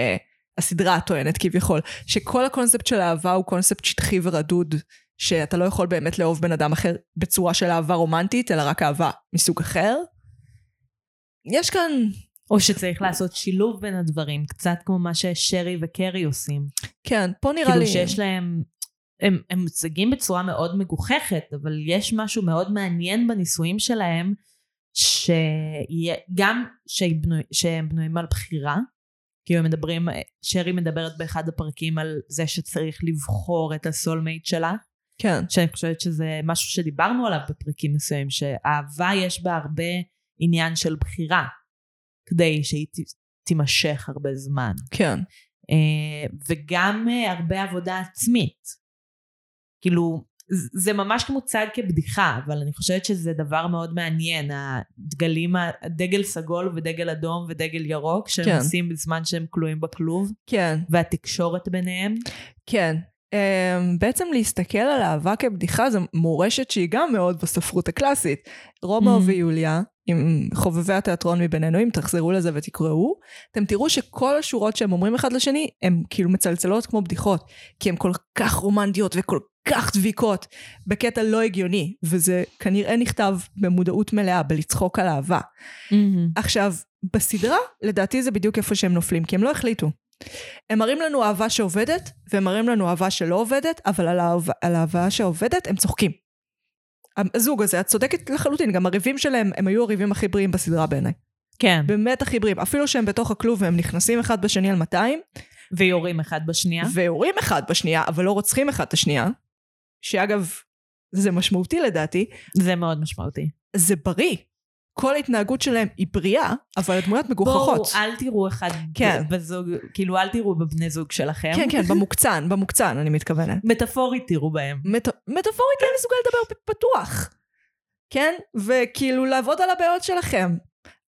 [SPEAKER 1] הסדרה טוענת כביכול, שכל הקונספט של אהבה הוא קונספט שטחי ורדוד, שאתה לא יכול באמת לאהוב בן אדם אחר בצורה של אהבה רומנטית, אלא רק אהבה מסוג אחר. יש כאן,
[SPEAKER 2] או שצריך לעשות שילוב בין הדברים, קצת כמו מה ששרי וקרי עושים.
[SPEAKER 1] כן, פה נראה
[SPEAKER 2] כאילו
[SPEAKER 1] לי...
[SPEAKER 2] שיש להם, הם, הם מוצגים בצורה מאוד מגוחכת, אבל יש משהו מאוד מעניין בניסויים שלהם, שגם שהם בנוי- שהם בנויים על בחירה, כאילו הם מדברים, שרי מדברת באחד הפרקים על זה שצריך לבחור את הסולמייט שלה,
[SPEAKER 1] כן,
[SPEAKER 2] שאני חושבת שזה משהו שדיברנו עליו בפרקים מסוימים, שאהבה יש בה הרבה עניין של בחירה, כדי שהיא ת- תימשך הרבה זמן.
[SPEAKER 1] כן.
[SPEAKER 2] אה, וגם אה, הרבה עבודה עצמית. כאילו, ז- זה ממש מוצג כבדיחה, אבל אני חושבת שזה דבר מאוד מעניין, הדגלים, ה- דגל סגול ודגל אדום ודגל ירוק, שהם
[SPEAKER 1] כן.
[SPEAKER 2] עושים בזמן שהם כלואים בכלוב,
[SPEAKER 1] כן,
[SPEAKER 2] והתקשורת ביניהם.
[SPEAKER 1] כן. Um, בעצם להסתכל על אהבה כבדיחה זו מורשת שהיא גם מאוד בספרות הקלאסית. רומאו
[SPEAKER 2] Mhm.
[SPEAKER 1] ויוליה, עם חובבי התיאטרון מבינינו, אם תחזרו לזה ותקראו, אתם תראו שכל השורות שהם אומרים אחד לשני, הן כאילו מצלצלות כמו בדיחות, כי הן כל כך רומנטיות וכל כך דביקות, בקטע לא הגיוני, וזה כנראה נכתב במודעות מלאה, בלצחוק על אהבה. עכשיו, בסדרה, לדעתי זה בדיוק איפה שהם נופלים, כי הם לא החליטו. הם מראים לנו אהבה שעובדת, והם מראים לנו אהבה שלא עובדת, אבל על, האהבה, על האהבה שעובדת הם צוחקים. הזוג הזה, את צודקת לחלוטין, גם הריבים שלהם, הם היו הריבים הכי בריאים בסדרה בעיניי.
[SPEAKER 2] כן,
[SPEAKER 1] באמת הכי בריאים. אפילו שהם בתוך הכלוב והם נכנסים אחד בשני על 200,
[SPEAKER 2] ויורים אחד בשנייה.
[SPEAKER 1] ויורים אחד בשנייה, אבל לא רוצחים אחד את השנייה, שאגב, זה משמעותי לדעתי,
[SPEAKER 2] זה מאוד משמעותי.
[SPEAKER 1] זה בריא. כל ההתנהגות שלהם היא בריאה, אבל הדמויות מגוחכות.
[SPEAKER 2] בואו, אל תראו אחד
[SPEAKER 1] כן.
[SPEAKER 2] ב- בזוג, כאילו אל תראו בבני זוג שלכם.
[SPEAKER 1] כן, כן, במוקצן, במוקצן, אני מתכוונת.
[SPEAKER 2] מטאפורית תראו בהם.
[SPEAKER 1] מט... מטאפורית לא מסוגל לדבר פ- פתוח, כן? וכאילו לעבוד על הבעיות שלכם.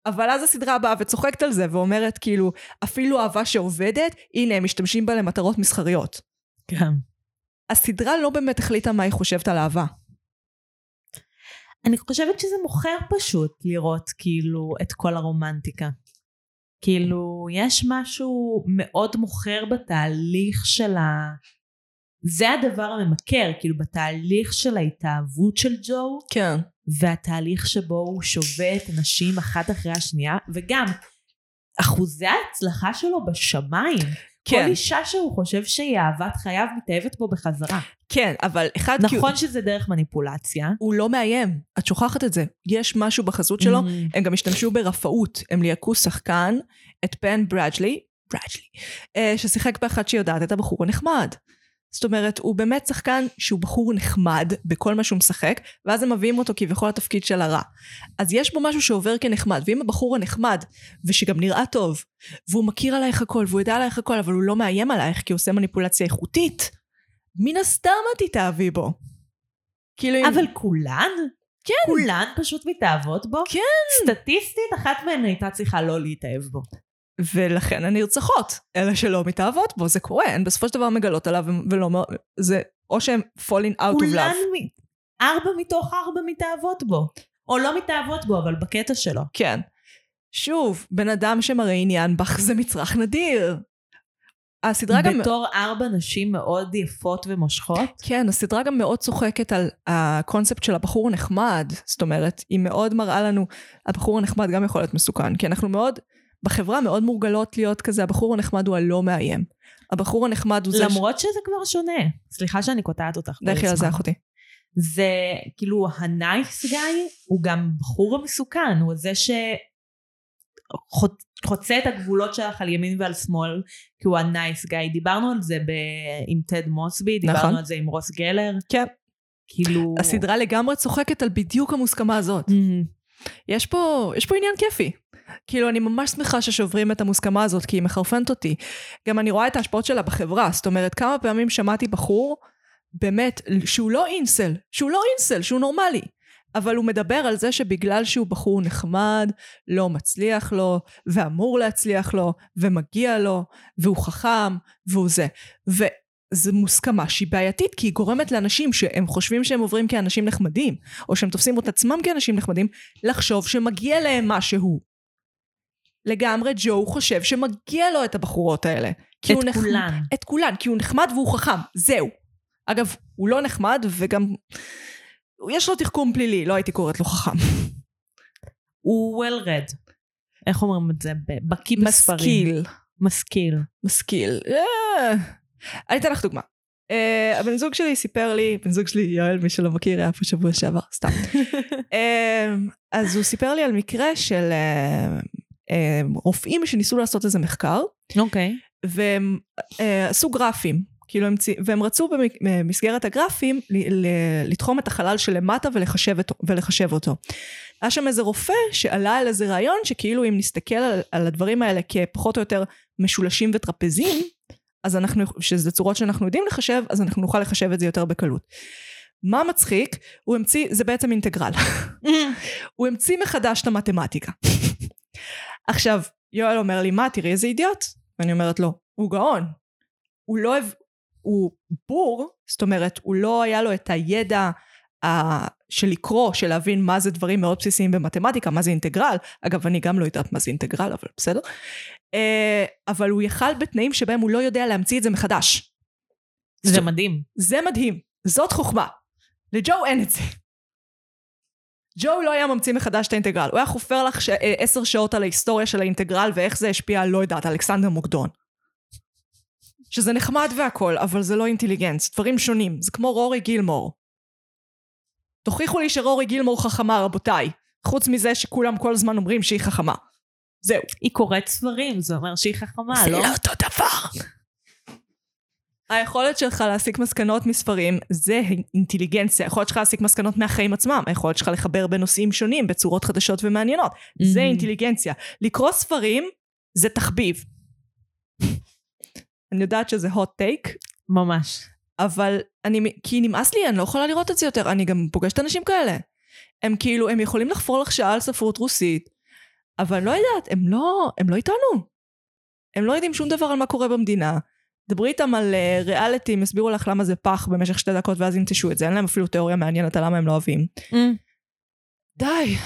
[SPEAKER 1] אבל אז הסדרה באה וצוחקת על זה ואומרת כאילו, אפילו אהבה שעובדת, הנה הם משתמשים בה למטרות מסחריות.
[SPEAKER 2] כן.
[SPEAKER 1] הסדרה לא באמת החליטה מה היא חושבת על אהבה.
[SPEAKER 2] אני חושבת שזה מוכר פשוט לראות כאילו את כל הרומנטיקה. כאילו יש משהו מאוד מוכר בתהליך של ה... זה הדבר הממכר, כאילו בתהליך של ההתאהבות של ג'ו
[SPEAKER 1] כן.
[SPEAKER 2] והתהליך שבו הוא שובה את הנשים אחת אחרי השנייה וגם אחוזי ההצלחה שלו בשמיים. כן.
[SPEAKER 1] כן,
[SPEAKER 2] כל אישה שהוא חושב שהיא אהבת חייו מתאהבת בו בחזרה.
[SPEAKER 1] כן, אבל אחד, כי הוא,
[SPEAKER 2] נכון שזה דרך מניפולציה.
[SPEAKER 1] הוא לא מאיים, את שוכחת את זה. יש משהו בחזות שלו,
[SPEAKER 2] Mhm.
[SPEAKER 1] הם גם השתמשו ברפאות, הם ליהקו שחקן, את פן ברדג'לי, ברדג'לי, אה, ששיחק באחת שיודעת את הבחור הנחמד. זאת אומרת, הוא באמת שחקן שהוא בחור נחמד בכל מה שהוא משחק, ואז הם מביאים אותו כביכול לתפקיד של הרע. אז יש בו משהו שעובר כנחמד, ואם הבחור הנחמד, ושגם נראה טוב, והוא מכיר עלייך הכל, והוא יודע עלייך הכל, אבל הוא לא מאיים עלייך כי הוא עושה מניפולציה איכותית, מן הסתם את תתאהבי בו. כאילו, אם-
[SPEAKER 2] אבל כולן?
[SPEAKER 1] כן.
[SPEAKER 2] כולן פשוט מתאהבות בו?
[SPEAKER 1] כן.
[SPEAKER 2] סטטיסטית, אחת מהן הייתה צריכה לא להתאהב בו.
[SPEAKER 1] ולכן הן נרצחות. אלה שלא מתאהבות בו, זה קורה, הן בסופו של דבר מגלות עליו ולא... מ- זה או שהן falling out of
[SPEAKER 2] כולן,
[SPEAKER 1] love.
[SPEAKER 2] מ- ארבע מתוך ארבע מתאהבות בו. או לא מתאהבות בו, אבל בקטע שלו.
[SPEAKER 1] כן. שוב, בן אדם שמראה עניין בך זה מצרך נדיר. הסדרה גם...
[SPEAKER 2] בתור ארבע נשים מאוד יפות ומושכות.
[SPEAKER 1] כן, הסדרה גם מאוד צוחקת על הקונספט של הבחור הנחמד. זאת אומרת, היא מאוד מראה לנו, הבחור הנחמד גם יכול להיות מסוכן, כי אנחנו מאוד, בחברה מאוד מורגלות להיות כזה, הבחור הנחמד הוא הלא מאיים. הבחור הנחמד הוא זה... ש-
[SPEAKER 2] למרות שזה כבר שונה. לא, סליחה שאני קוטעת אותך. כל
[SPEAKER 1] לכי על זה
[SPEAKER 2] הזמן.
[SPEAKER 1] אחותי.
[SPEAKER 2] זה כאילו הנייס גאי הוא גם בחור המסוכן, הוא זה ש... חוצ- חוצה את הגבולות שלך על ימין ועל שמאל, כי הוא הנייס גאי. דיברנו על זה ב... עם טד מוסבי, דיברנו
[SPEAKER 1] נכון.
[SPEAKER 2] על זה עם רוס גלר,
[SPEAKER 1] כן.
[SPEAKER 2] כאילו...
[SPEAKER 1] הסדרה לגמרי צוחקת על בדיוק המוסכמה הזאת.
[SPEAKER 2] מהמם.
[SPEAKER 1] יש פה, יש פה עניין כיפי. כאילו, אני ממש שמחה ששוברים את המוסכמה הזאת, כי היא מחרפנת אותי. גם אני רואה את ההשפעות שלה בחברה, זאת אומרת, כמה פעמים שמעתי בחור, באמת, שהוא לא אינסל, שהוא לא אינסל, שהוא נורמלי. אבל הוא מדבר על זה שבגלל שהוא בחור נחמד, לא מצליח לו, ואמור להצליח לו, ומגיע לו, והוא חכם, והוא זה. וזו מוסכמה שהיא בעייתית, כי היא גורמת לאנשים שהם חושבים שהם עוברים כאנשים נחמדים, או שהם תופסים את עצמם כאנשים נחמדים, לחשוב שמגיע להם משהו. לגמרי ג'ו חושב שמגיע לו את הבחורות האלה. כי הוא
[SPEAKER 2] את
[SPEAKER 1] נחמד-
[SPEAKER 2] כולן.
[SPEAKER 1] את כולן, כי הוא נחמד והוא חכם, זהו. אגב, הוא לא נחמד וגם... יש לו תחכום פלילי, לא הייתי קוראת לו חכם.
[SPEAKER 2] הוא well read. איך אומרים את זה? ב- בקיא בספרים.
[SPEAKER 1] משכיל.
[SPEAKER 2] משכיל.
[SPEAKER 1] משכיל. אה. אני אתן לך דוגמה. אה, הבן זוג שלי סיפר לי, בן זוג שלי יואל, מי שלא מכיר, היה פה שבוע שעבר, סתם. אה, אז הוא סיפר לי על מקרה של אה, אה, רופאים שניסו לעשות איזה מחקר,
[SPEAKER 2] אוקיי.
[SPEAKER 1] והם אה, עשו גרפים, כאילו הם, צי- והם רצו במק- במסגרת הגרפים ל, ל, לתחום את החלל שלמטה ולחשב, את, ולחשב אותו. היה שם איזה רופא שעלה על איזה רעיון שכאילו אם נסתכל על, על הדברים האלה כפחות או יותר משולשים וטרפזים, אז אנחנו, שזה צורות שאנחנו יודעים לחשב, אז אנחנו נוכל לחשב את זה יותר בקלות. מה מצחיק? הוא המציא, זה בעצם אינטגרל. הוא המציא מחדש את המתמטיקה. עכשיו, יואל אומר לי, מה, תראי איזה אידיוט? ואני אומרת לו, הוא גאון. הוא לא... הב- הוא בור, זאת אומרת, הוא לא היה לו את הידע ה... של לקרוא, של להבין מה זה דברים מאוד בסיסיים במתמטיקה, מה זה אינטגרל. אגב, אני גם לא יודעת מה זה אינטגרל, אבל בסדר. אה, אבל הוא יכל בתנאים שבהם הוא לא יודע להמציא את זה מחדש.
[SPEAKER 2] זה מדהים.
[SPEAKER 1] זה מדהים, זאת חוכמה. לג'ו אין את זה. ג'ו לא היה ממציא מחדש את האינטגרל, הוא היה חופר לך ש- אה, עשר שעות על ההיסטוריה של האינטגרל ואיך זה השפיע על, לא יודעת, אלכסנדר מוקדון. שזה נחמד והכל, אבל זה לא אינטליגנס, דברים שונים, זה כמו רורי גילמור. תוכיחו לי שרורי גילמור חכמה, רבותיי, חוץ מזה שכולם כל הזמן אומרים שהיא חכמה. זהו.
[SPEAKER 2] היא קוראת ספרים, זה אומר שהיא חכמה, לא?
[SPEAKER 1] אותו דבר. היכולת שלך להסיק מסקנות מספרים זה אינטליגנציה. היכולת שלך להסיק מסקנות מהחיים עצמם. היכולת שלך לחבר בין נושאים שונים בצורות חדשות ומעניינות. זה
[SPEAKER 2] Mhm.
[SPEAKER 1] אינטליגנציה. לקרוא ספרים זה תחביב. אני יודעת שזה hot take,
[SPEAKER 2] ממש.
[SPEAKER 1] אבל אני, כי נמאס לי, אני לא יכולה לראות את זה יותר. אני גם פוגשת אנשים כאלה. הם כאילו, הם יכולים לחפור לך שעה על ספרות רוסית, אבל לא יודעת, הם לא, הם לא איתנו. הם לא יודעים שום דבר על מה קורה במדינה. דברי איתם על אה, ריאליטי, הם יסבירו לך למה זה פח במשך שתי דקות ואז ינטשו את זה. אין להם אפילו תיאוריה מעניינת על למה הם לא אוהבים. די,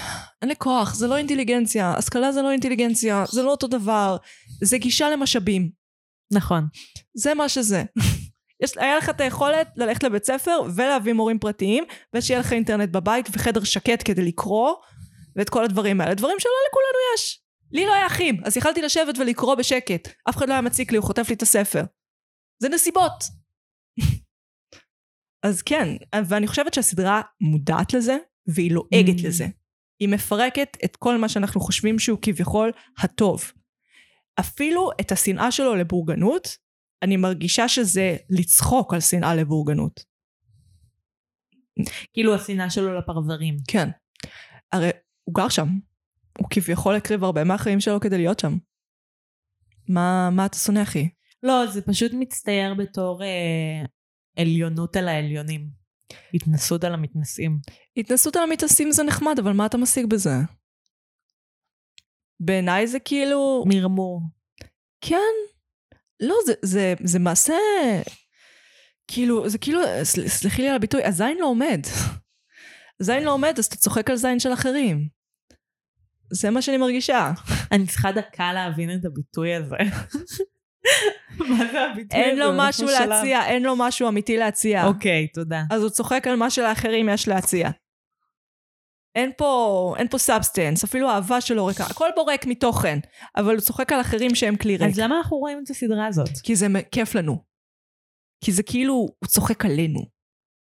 [SPEAKER 1] אין לי כוח, זה לא אינטליגנציה. השכלה זה לא אינטליגנציה, זה לא אותו דבר. זה גישה למשאבים.
[SPEAKER 2] נכון.
[SPEAKER 1] זה מה שזה. יש, היה לך את היכולת ללכת לבית ספר ולהביא מורים פרטיים, ושיהיה לך אינטרנט בבית וחדר שקט כדי לקרוא, ואת כל הדברים האלה. דברים שלא לכולנו יש. לי לא היה אחים, אז יכלתי לשבת ולקרוא בשקט. אף אחד לא היה מציק לי, הוא חוטף לי את הספר. זה נסיבות. אז כן, ואני חושבת שהסדרה מודעת לזה, והיא לועגת
[SPEAKER 2] Mm.
[SPEAKER 1] לזה. היא מפרקת את כל מה שאנחנו חושבים שהוא כביכול הטוב. אפילו את השנאה שלו לבורגנות, אני מרגישה שזה לצחוק על שנאה לבורגנות.
[SPEAKER 2] כאילו השנאה שלו לפרברים.
[SPEAKER 1] כן. הרי הוא גר שם. הוא כביכול הקריב הרבה מהחיים שלו כדי להיות שם. מה, מה אתה שונא, אחי?
[SPEAKER 2] לא, זה פשוט מצטייר בתור אה, עליונות על העליונים. התנסות על המתנשאים.
[SPEAKER 1] התנסות על המתעסים זה נחמד, אבל מה אתה משיג בזה? בעיניי זה כאילו...
[SPEAKER 2] מרמור.
[SPEAKER 1] כן. לא, זה, זה, זה מעשה... כאילו, זה כאילו, סל, סלחי לי על הביטוי, הזין לא עומד. הזין לא עומד, אז אתה צוחק על זין של אחרים. זה מה שאני מרגישה.
[SPEAKER 2] אני צריכה דקה להבין את הביטוי הזה. מה זה הביטוי הזה?
[SPEAKER 1] אין לו
[SPEAKER 2] אנחנו
[SPEAKER 1] משהו
[SPEAKER 2] שלב.
[SPEAKER 1] להציע, אין לו משהו אמיתי להציע.
[SPEAKER 2] אוקיי, תודה.
[SPEAKER 1] אז הוא צוחק על מה שלאחרים יש להציע. אין פה, אין פה סאבסטנס, אפילו אהבה שלו ריקה. הכל בורק מתוכן, אבל הוא צוחק על אחרים שהם כלי ריק.
[SPEAKER 2] אז למה אנחנו רואים את הסדרה הזאת?
[SPEAKER 1] כי זה מ- כיף לנו. כי זה כאילו, הוא צוחק עלינו.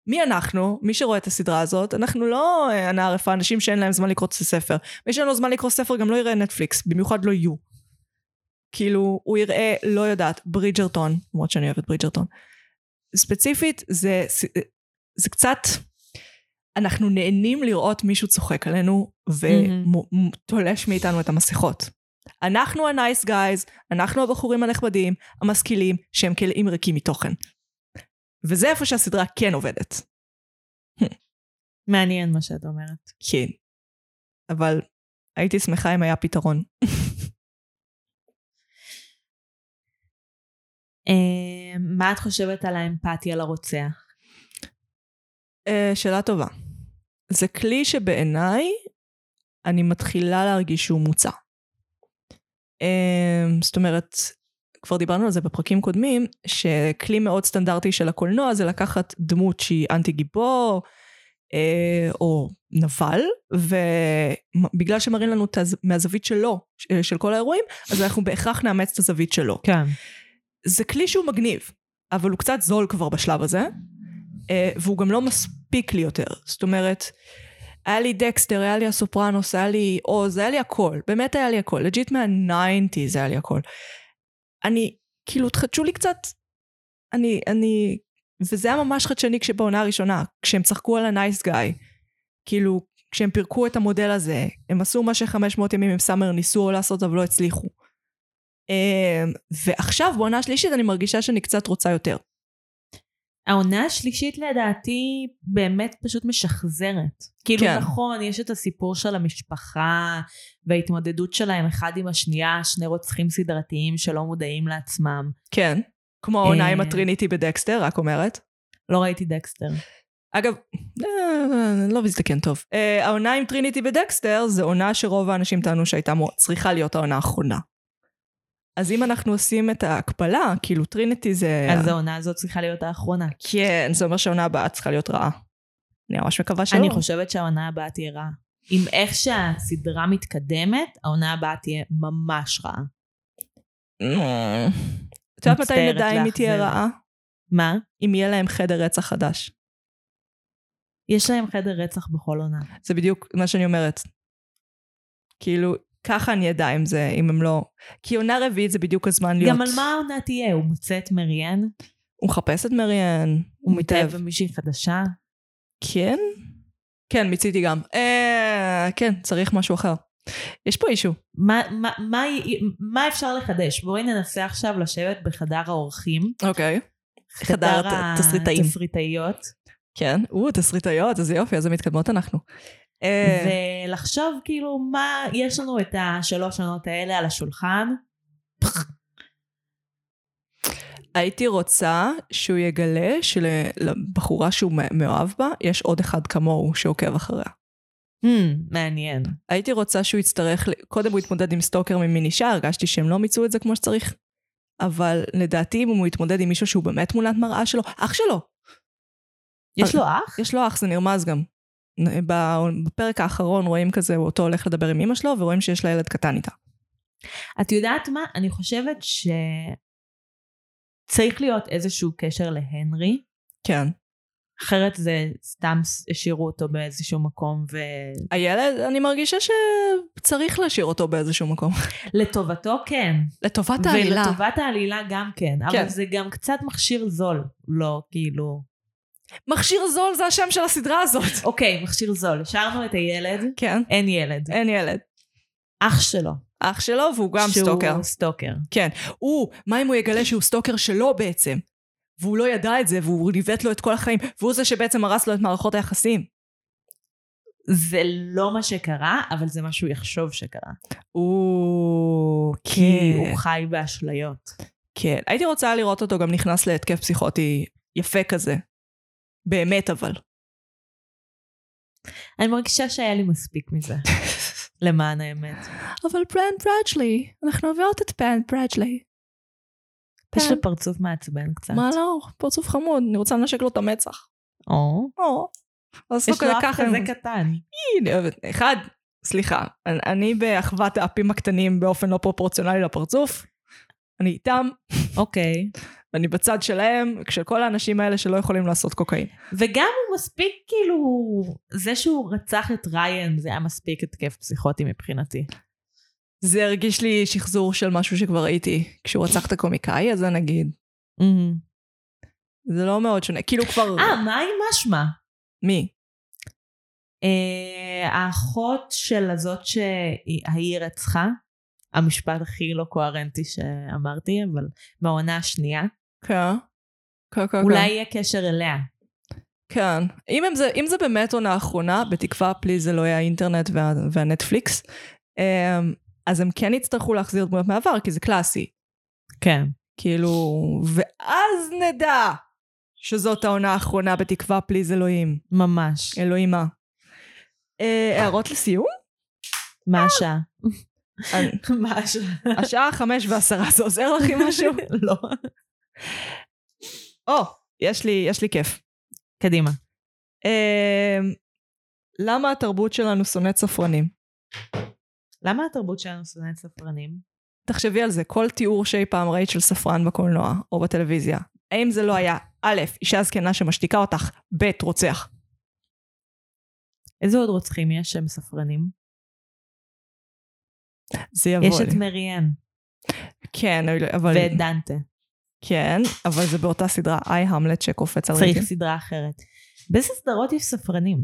[SPEAKER 1] מי אנחנו? מי שרואה את הסדרה הזאת, אנחנו לא אה, אנא ערפה, אנשים שאין להם זמן לקרוא את הספר. מי שאין לו זמן לקרוא ספר גם לא יראה נטפליקס, במיוחד לא יו. כאילו, הוא יראה, לא יודעת, ברידג'רטון, למרות שאני אוהבת ברידג'רטון. ספציפית, זה, אה, זה קצת, אנחנו נהנים לראות מישהו צוחק עלינו ותולש מאיתנו את המסכות. אנחנו הנייס גייז, אנחנו הבחורים הנחמדים, המשכילים, שהם כלאים ריקים מתוכן. וזה איפה שהסדרה כן עובדת.
[SPEAKER 2] מעניין מה שאת אומרת.
[SPEAKER 1] כן. אבל הייתי שמחה אם היה פתרון.
[SPEAKER 2] אה, מה את חושבת על האמפתיה לרוצח?
[SPEAKER 1] אה, שאלה טובה. זה כלי שבעיניי אני מתחילה להרגיש שהוא מוצע. אה, זאת אומרת, כבר דיברנו על זה בפרקים קודמים, שכלי מאוד סטנדרטי של הקולנוע זה לקחת דמות שהיא אנטי גיבור, אה, או נבל, ובגלל שמראים לנו את הז... מהזווית שלו, ש- של כל האירועים, אז אנחנו בהכרח נאמץ את הזווית שלו.
[SPEAKER 2] כן.
[SPEAKER 1] זה כלי שהוא מגניב, אבל הוא קצת זול כבר בשלב הזה, אה, והוא גם לא מספיק לי יותר. זאת אומרת, היה לי דקסטר, היה לי הסופרנוס, היה לי עוז, היה לי הכל. באמת היה לי הכל. לג'יט מהניינטיז היה לי הכל. אני, כאילו, תחדשו לי קצת. אני, אני... וזה היה ממש חדשני כשבעונה הראשונה, כשהם צחקו על הנייס גאי. כאילו, כשהם פירקו את המודל הזה, הם עשו מה ש-500 ימים עם סאמר ניסו לעשות, אבל לא הצליחו. אמ, ועכשיו, בעונה השלישית, אני מרגישה שאני קצת רוצה יותר.
[SPEAKER 2] העונה השלישית לדעתי באמת פשוט משחזרת. כאילו
[SPEAKER 1] כן.
[SPEAKER 2] כן. נכון, יש את הסיפור של המשפחה וההתמודדות שלהם אחד עם השנייה, שני רוצחים סדרתיים שלא מודעים לעצמם.
[SPEAKER 1] כן. כמו העונה עם
[SPEAKER 2] אה.
[SPEAKER 1] הטריניטי בדקסטר, רק אומרת.
[SPEAKER 2] לא ראיתי דקסטר.
[SPEAKER 1] אגב, אה, לא מזדקן טוב. אה, העונה עם טריניטי בדקסטר זה עונה שרוב האנשים טענו שהייתה מו- צריכה להיות העונה האחרונה. אז אם אנחנו עושים את ההקבלה, כאילו טריניטי זה...
[SPEAKER 2] אז העונה הזאת צריכה להיות האחרונה.
[SPEAKER 1] כן, זה אומר שהעונה הבאה צריכה להיות רעה. אני ממש מקווה שלא.
[SPEAKER 2] אני חושבת שהעונה הבאה תהיה רעה. עם איך שהסדרה מתקדמת, העונה הבאה תהיה ממש רעה.
[SPEAKER 1] אה. את יודעת מתי
[SPEAKER 2] מצטערת
[SPEAKER 1] נדע אם היא
[SPEAKER 2] לאכזב.
[SPEAKER 1] תהיה רעה?
[SPEAKER 2] מה?
[SPEAKER 1] אם יהיה להם חדר רצח חדש.
[SPEAKER 2] יש להם חדר רצח בכל עונה.
[SPEAKER 1] זה בדיוק מה שאני אומרת. כאילו, ככה אני אדע אם זה, אם הם לא... כי עונה רביעית זה בדיוק הזמן להיות...
[SPEAKER 2] גם על מה העונה תהיה? הוא מוצא את מריאן?
[SPEAKER 1] הוא מחפש את מריאן.
[SPEAKER 2] הוא מתאהב במישהי חדשה?
[SPEAKER 1] כן? כן, מיציתי גם. אה, כן, צריך משהו אחר. יש פה אישו.
[SPEAKER 2] מה, מה, מה, מה אפשר לחדש? בואי ננסה עכשיו לשבת בחדר האורחים.
[SPEAKER 1] אוקיי. חדר
[SPEAKER 2] חדר
[SPEAKER 1] התסריטאים.
[SPEAKER 2] התסריטאיות.
[SPEAKER 1] כן. או, תסריטאיות, איזה יופי, איזה מתקדמות אנחנו. אה,
[SPEAKER 2] ולחשוב כאילו מה, יש לנו את השלוש עונות האלה על השולחן.
[SPEAKER 1] הייתי רוצה שהוא יגלה שלבחורה שהוא מא- מאוהב בה, יש עוד אחד כמוהו שעוקב אחריה.
[SPEAKER 2] Hmm, מעניין.
[SPEAKER 1] הייתי רוצה שהוא יצטרך, ל- קודם הוא יתמודד עם סטוקר ממין אישה, הרגשתי שהם לא מיצו את זה כמו שצריך. אבל לדעתי אם הוא יתמודד עם מישהו שהוא באמת תמונת מראה שלו, אח שלו,
[SPEAKER 2] יש
[SPEAKER 1] אוקיי.
[SPEAKER 2] לו אח?
[SPEAKER 1] יש לו אח, זה נרמז גם. נ- ב- בפרק האחרון רואים כזה, אותו הולך לדבר עם אמא שלו, ורואים שיש לה ילד קטן איתה.
[SPEAKER 2] את יודעת מה? אני חושבת שצריך להיות איזשהו קשר להנרי,
[SPEAKER 1] כן.
[SPEAKER 2] אחרת זה סתם ס- השאירו אותו באיזשהו מקום ו-
[SPEAKER 1] הילד, אני מרגישה שצריך להשאיר אותו באיזשהו מקום.
[SPEAKER 2] לטובתו כן.
[SPEAKER 1] לטובת העלילה.
[SPEAKER 2] ולטובת העלילה גם כן,
[SPEAKER 1] כן.
[SPEAKER 2] אבל זה גם קצת מכשיר זול, לא כאילו...
[SPEAKER 1] מכשיר זול זה השם של הסדרה הזאת.
[SPEAKER 2] אוקיי, מכשיר זול, השארנו את הילד,
[SPEAKER 1] כן.
[SPEAKER 2] אין ילד,
[SPEAKER 1] אין ילד.
[SPEAKER 2] אח שלו.
[SPEAKER 1] אח שלו והוא גם סטוקר.
[SPEAKER 2] שהוא סטוקר.
[SPEAKER 1] הוא, מה אם הוא יגלה שהוא סטוקר שלו בעצם? והוא לא ידע את זה, והוא ניווט לו את כל החיים, והוא זה שבעצם הרס לו את מערכות היחסים.
[SPEAKER 2] זה לא מה שקרה, אבל זה מה שהוא יחשוב שקרה.
[SPEAKER 1] כן. או,
[SPEAKER 2] כי הוא חי באשליות.
[SPEAKER 1] כן. הייתי רוצה לראות אותו גם נכנס להתקף פסיכוטי יפה כזה. באמת אבל.
[SPEAKER 2] אני מרגישה שהיה לי מספיק מזה, למען האמת.
[SPEAKER 1] אבל פרן ברדשלי, אנחנו עוברות את פרן ברדשלי.
[SPEAKER 2] יש לו פרצוף מעצבן קצת.
[SPEAKER 1] כן. מה לא? פרצוף חמוד, אני רוצה לנשק לו את המצח.
[SPEAKER 2] או.
[SPEAKER 1] או. אז לא
[SPEAKER 2] יש לו אף
[SPEAKER 1] ככה,
[SPEAKER 2] כזה קטן.
[SPEAKER 1] אני אוהבת. אחד, סליחה, אני- אני באחוות האפים הקטנים באופן לא פרופורציונלי לפרצוף. אני איתם.
[SPEAKER 2] אוקיי.
[SPEAKER 1] ואני בצד שלהם, של כל האנשים האלה שלא יכולים לעשות קוקאין.
[SPEAKER 2] וגם הוא מספיק כאילו, זה שהוא רצח את ריין זה היה מספיק התקף פסיכוטי מבחינתי.
[SPEAKER 1] זה הרגיש לי שחזור של משהו שכבר ראיתי. כשהוא רצח את הקומיקאי הזה נגיד,
[SPEAKER 2] Mm-hmm.
[SPEAKER 1] זה לא מאוד שונה. כאילו כבר...
[SPEAKER 2] אה, מה עם משמע?
[SPEAKER 1] מי?
[SPEAKER 2] אה, האחות של הזאת שהיא רצחה, המשפט הכי לא קוהרנטי שאמרתי, אבל מהעונה השנייה,
[SPEAKER 1] כן. כן, כן,
[SPEAKER 2] אולי
[SPEAKER 1] כן.
[SPEAKER 2] יהיה קשר אליה.
[SPEAKER 1] כן. אם, הם זה, אם זה באמת עונה אחרונה, בתקווה פליז זה לא יהיה האינטרנט וה, והנטפליקס, אמ, אז הם כן יצטרכו להחזיר דמויות מהעבר, כי זה קלאסי.
[SPEAKER 2] כן.
[SPEAKER 1] כאילו, ואז נדע שזאת העונה האחרונה בתקווה פליז אלוהים.
[SPEAKER 2] ממש.
[SPEAKER 1] אלוהים מה. אה, הערות לסיום?
[SPEAKER 2] מה השעה?
[SPEAKER 1] אני-
[SPEAKER 2] אה. מה השעה?
[SPEAKER 1] השעה חמש ועשרה, זה עוזר לך עם משהו?
[SPEAKER 2] לא.
[SPEAKER 1] או, יש לי, יש לי כיף.
[SPEAKER 2] קדימה.
[SPEAKER 1] אמ, למה התרבות שלנו שונאת ספרנים?
[SPEAKER 2] למה התרבות שלנו שונאת ספרנים?
[SPEAKER 1] תחשבי על זה, כל תיאור שאי פעם ראית של ספרן בקולנוע או בטלוויזיה, האם זה לא היה א', אישה זקנה שמשתיקה אותך, ב', רוצח.
[SPEAKER 2] איזה עוד רוצחים יש שהם ספרנים?
[SPEAKER 1] זה יבוא
[SPEAKER 2] יש את
[SPEAKER 1] לי.
[SPEAKER 2] מריאן
[SPEAKER 1] כן, אבל...
[SPEAKER 2] ואת דנטה.
[SPEAKER 1] כן, אבל זה באותה סדרה, איי המלט שקופץ על
[SPEAKER 2] צריך
[SPEAKER 1] רהיטים.
[SPEAKER 2] סדרה אחרת. באיזה סדרות יש ספרנים?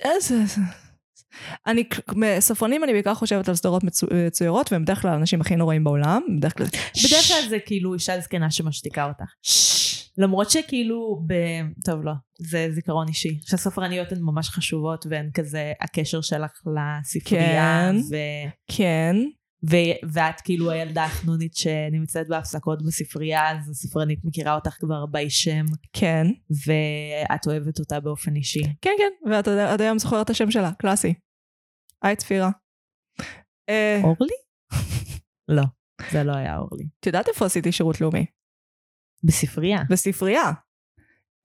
[SPEAKER 1] איזה... אה, אני, ספרנים אני בעיקר חושבת על סדרות מצו- מצוירות, והם בדרך כלל האנשים הכי נוראים בעולם, בדרך כלל...
[SPEAKER 2] בדרך כלל זה כאילו אישה זקנה שמשתיקה אותך. למרות שכאילו, ב... טוב לא, זה זיכרון אישי, שהספרניות הן ממש חשובות והן כזה הקשר שלך לספרייה,
[SPEAKER 1] כן.
[SPEAKER 2] ו...
[SPEAKER 1] כן,
[SPEAKER 2] ו... ואת כאילו הילדה החנונית שנמצאת בהפסקות בספרייה, אז הספרנית מכירה אותך כבר בי שם,
[SPEAKER 1] כן.
[SPEAKER 2] ואת אוהבת אותה באופן אישי.
[SPEAKER 1] כן, כן, ואת עד- עד היום זוכרת את השם שלה, קלאסי. היי צפירה. אה,
[SPEAKER 2] אורלי? לא, זה לא היה אורלי.
[SPEAKER 1] את יודעת איפה עשיתי שירות לאומי?
[SPEAKER 2] בספרייה.
[SPEAKER 1] בספרייה.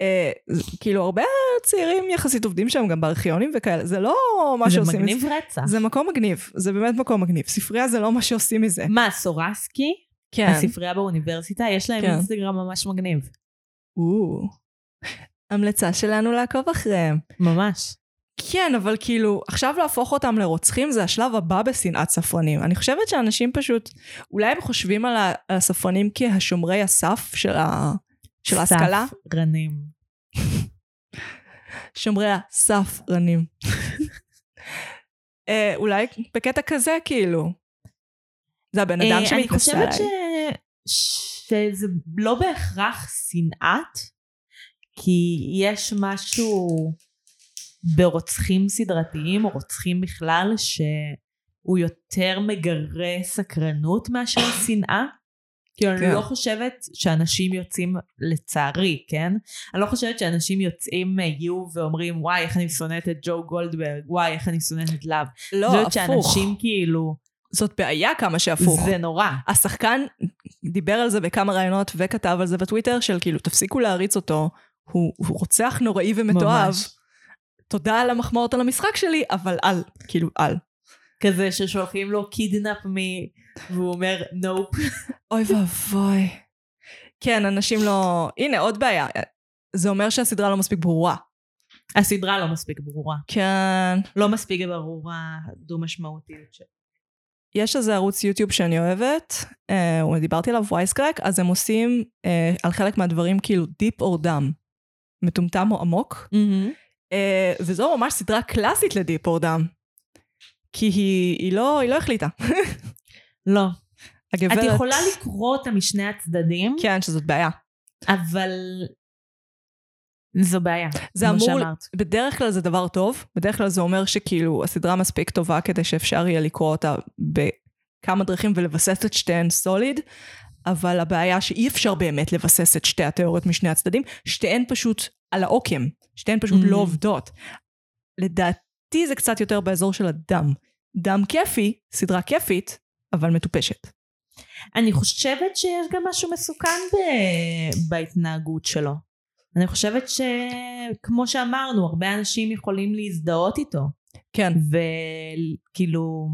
[SPEAKER 1] אה, זה- כאילו הרבה צעירים יחסית עובדים שם גם בארכיונים וכאלה, זה לא מה
[SPEAKER 2] זה
[SPEAKER 1] שעושים
[SPEAKER 2] מגניב
[SPEAKER 1] מזה.
[SPEAKER 2] רצח.
[SPEAKER 1] זה מקום מגניב, זה באמת מקום מגניב. ספרייה זה לא מה שעושים מזה.
[SPEAKER 2] מה, סורסקי?
[SPEAKER 1] כן.
[SPEAKER 2] הספרייה באוניברסיטה, יש להם
[SPEAKER 1] כן.
[SPEAKER 2] אינסטגרם ממש מגניב.
[SPEAKER 1] או. המלצה שלנו לעקוב אחריהם.
[SPEAKER 2] ממש.
[SPEAKER 1] כן, אבל כאילו, עכשיו להפוך אותם לרוצחים זה השלב הבא בשנאת ספרנים. אני חושבת שאנשים פשוט, אולי הם חושבים על ה- על הספרנים כהשומרי הסף של, ה, של ההשכלה.
[SPEAKER 2] ספרנים.
[SPEAKER 1] שומרי הספרנים. אה, אולי בקטע כזה, כאילו. זה הבן אדם
[SPEAKER 2] אה,
[SPEAKER 1] שמתנסה
[SPEAKER 2] אני חושבת ש...
[SPEAKER 1] עליי.
[SPEAKER 2] שזה לא בהכרח שנאת, כי יש משהו ברוצחים סדרתיים, או רוצחים בכלל, שהוא יותר מגרה סקרנות מאשר שנאה. כאילו,
[SPEAKER 1] כן.
[SPEAKER 2] אני לא חושבת שאנשים יוצאים, לצערי, כן? אני לא חושבת שאנשים יוצאים, אה, יהיו ואומרים, וואי, איך אני שונאת את ג'ו גולדברג, וואי, איך אני שונאת את להב.
[SPEAKER 1] לא,
[SPEAKER 2] אני
[SPEAKER 1] הפוך.
[SPEAKER 2] חושבת שאנשים כאילו,
[SPEAKER 1] זאת בעיה כמה שהפוך.
[SPEAKER 2] זה נורא.
[SPEAKER 1] השחקן דיבר על זה בכמה ראיונות וכתב על זה בטוויטר של כאילו, תפסיקו להריץ אותו, הוא, הוא רוצח נוראי ומתועב.
[SPEAKER 2] ממש.
[SPEAKER 1] תודה על המחמאות על המשחק שלי, אבל אל, כאילו אל.
[SPEAKER 2] כזה ששולחים לו קידנאפ מ... והוא אומר נופ.
[SPEAKER 1] אוי ואבוי. כן, אנשים לא... הנה, עוד בעיה. זה אומר שהסדרה לא מספיק ברורה.
[SPEAKER 2] הסדרה לא מספיק ברורה.
[SPEAKER 1] כן.
[SPEAKER 2] לא מספיק ברורה הדו משמעותיות שלה.
[SPEAKER 1] יש איזה ערוץ יוטיוב שאני אוהבת, אה, הוא- דיברתי עליו, וייסקרק, אז הם עושים אה, על חלק מהדברים כאילו דיפ אור דם. מטומטם או עמוק. אה, וזו ממש סדרה קלאסית לדיפ אור דם. כי היא, היא, לא, היא לא החליטה.
[SPEAKER 2] לא.
[SPEAKER 1] הגברת...
[SPEAKER 2] את יכולה לקרוא אותה משני הצדדים,
[SPEAKER 1] כן, שזאת בעיה.
[SPEAKER 2] אבל זו בעיה.
[SPEAKER 1] זה
[SPEAKER 2] כמו
[SPEAKER 1] אמור-
[SPEAKER 2] שאמרת.
[SPEAKER 1] בדרך כלל זה דבר טוב, בדרך כלל זה אומר שכאילו הסדרה מספיק טובה כדי שאפשר יהיה לקרוא אותה בכמה דרכים ולבסס את שתיהן סוליד, אבל הבעיה שאי אפשר באמת לבסס את שתי התיאוריות משני הצדדים, שתיהן פשוט על העוקם, שתיהן פשוט
[SPEAKER 2] Mhm.
[SPEAKER 1] לא עובדות. לדעתי זה קצת יותר באזור של הדם. דם כיפי, סדרה כיפית, אבל מטופשת.
[SPEAKER 2] אני חושבת שיש גם משהו מסוכן ב... בהתנהגות שלו. אני חושבת שכמו שאמרנו, הרבה אנשים יכולים להזדהות איתו.
[SPEAKER 1] כן,
[SPEAKER 2] וכאילו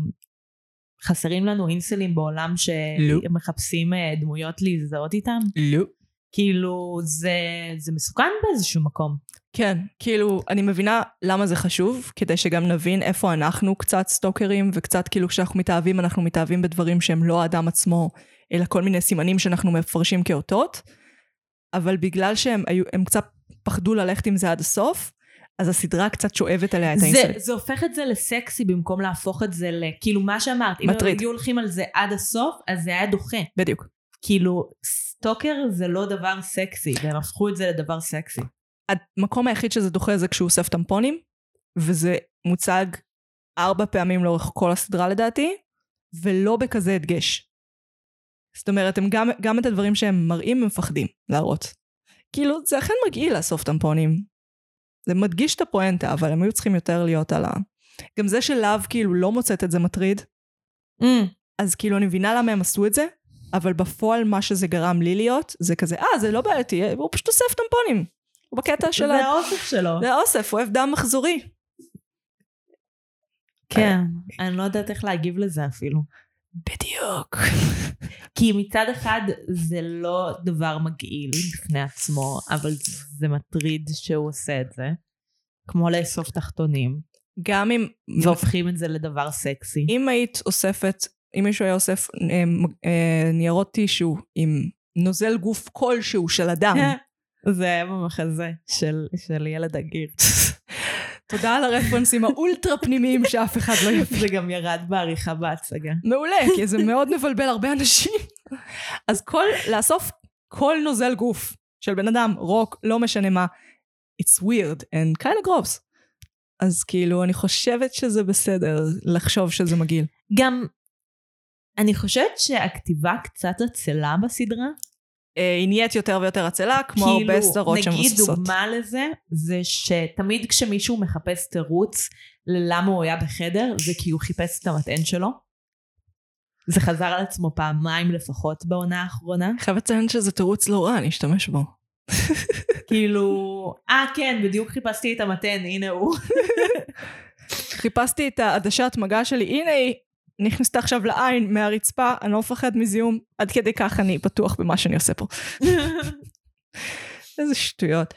[SPEAKER 2] חסרים לנו אינסלים בעולם
[SPEAKER 5] לא.
[SPEAKER 2] שמחפשים אה, דמויות להזדהות איתם?
[SPEAKER 5] לא.
[SPEAKER 2] כאילו זה, זה מסוכן באיזשהו מקום.
[SPEAKER 1] כן, כאילו, אני מבינה למה זה חשוב, כדי שגם נבין איפה אנחנו קצת סטוקרים, וקצת כאילו כשאנחנו מתאהבים, אנחנו מתאהבים בדברים שהם לא האדם עצמו, אלא כל מיני סימנים שאנחנו מפרשים כאותות, אבל בגלל שהם היו, הם קצת פחדו ללכת עם זה עד הסוף, אז הסדרה קצת שואבת עליה את
[SPEAKER 2] זה,
[SPEAKER 1] האינסטרנט.
[SPEAKER 2] זה הופך את זה לסקסי במקום להפוך את זה לכאילו מה שאמרת, אם
[SPEAKER 1] מטריד.
[SPEAKER 2] הם היו הולכים על זה עד הסוף, אז זה היה דוחה.
[SPEAKER 1] בדיוק.
[SPEAKER 2] כאילו סטוקר זה לא דבר סקסי, והם הפכו את זה לדבר סקסי.
[SPEAKER 1] המקום היחיד שזה דוחה זה כשהוא אוסף טמפונים, וזה מוצג ארבע פעמים לאורך כל הסדרה לדעתי, ולא בכזה הדגש. זאת אומרת, הם גם, גם את הדברים שהם מראים, הם מפחדים להראות. כאילו, זה אכן מגעיל לאסוף טמפונים. זה מדגיש את הפואנטה, אבל הם היו צריכים יותר להיות על ה... גם זה שלהב כאילו לא מוצאת את זה מטריד, אז כאילו אני מבינה למה הם עשו את זה, אבל בפועל מה שזה גרם לי להיות, זה כזה, אה, זה לא בעייתי, הוא פשוט אוסף טמפונים. הוא בקטע של ה...
[SPEAKER 2] זה האופק שלו.
[SPEAKER 1] זה האוסף, הוא אוהב דם מחזורי.
[SPEAKER 2] כן, אני לא יודעת איך להגיב לזה אפילו.
[SPEAKER 1] בדיוק.
[SPEAKER 2] כי מצד אחד זה לא דבר מגעיל בפני עצמו, אבל זה מטריד שהוא עושה את זה. כמו לאסוף תחתונים,
[SPEAKER 1] גם אם,
[SPEAKER 2] והופכים את זה לדבר סקסי.
[SPEAKER 1] אם היית אוספת, אם מישהו היה אוסף אה, מ- אה, ניירות טישו עם נוזל גוף כלשהו של אדם,
[SPEAKER 2] אה. זה היה במחזה של, של ילד הגיר.
[SPEAKER 1] תודה על הרפרנסים האולטרה פנימיים שאף אחד לא יבין.
[SPEAKER 2] זה גם ירד בעריכה בהצגה.
[SPEAKER 1] מעולה, כי זה מאוד מבלבל הרבה אנשים. אז כל, לאסוף כל נוזל גוף של בן אדם, רוק, לא משנה מה, it's weird and kind of gross. אז כאילו, אני חושבת שזה בסדר לחשוב שזה מגעיל.
[SPEAKER 2] גם, אני חושבת שהכתיבה קצת עצלה בסדרה.
[SPEAKER 1] אה, היא נהיית יותר ויותר עצלה, כמו הרבה סדרות
[SPEAKER 2] כאילו, נגיד
[SPEAKER 1] שמבוססות.
[SPEAKER 2] דוגמה לזה, זה שתמיד כשמישהו מחפש תירוץ ללמה הוא היה בחדר, זה כי הוא חיפש את המטען שלו. זה חזר על עצמו פעמיים לפחות בעונה האחרונה.
[SPEAKER 1] אני חייבת לציין שזה תירוץ לא רע, אני אשתמש בו.
[SPEAKER 2] כאילו, אה כן, בדיוק חיפשתי את המטען, הנה הוא.
[SPEAKER 1] חיפשתי את העדשת מגע שלי, הנה היא, נכנסתה עכשיו לעין מהרצפה, אני לא מפחד מזיהום, עד כדי כך אני בטוח במה שאני עושה פה. איזה שטויות.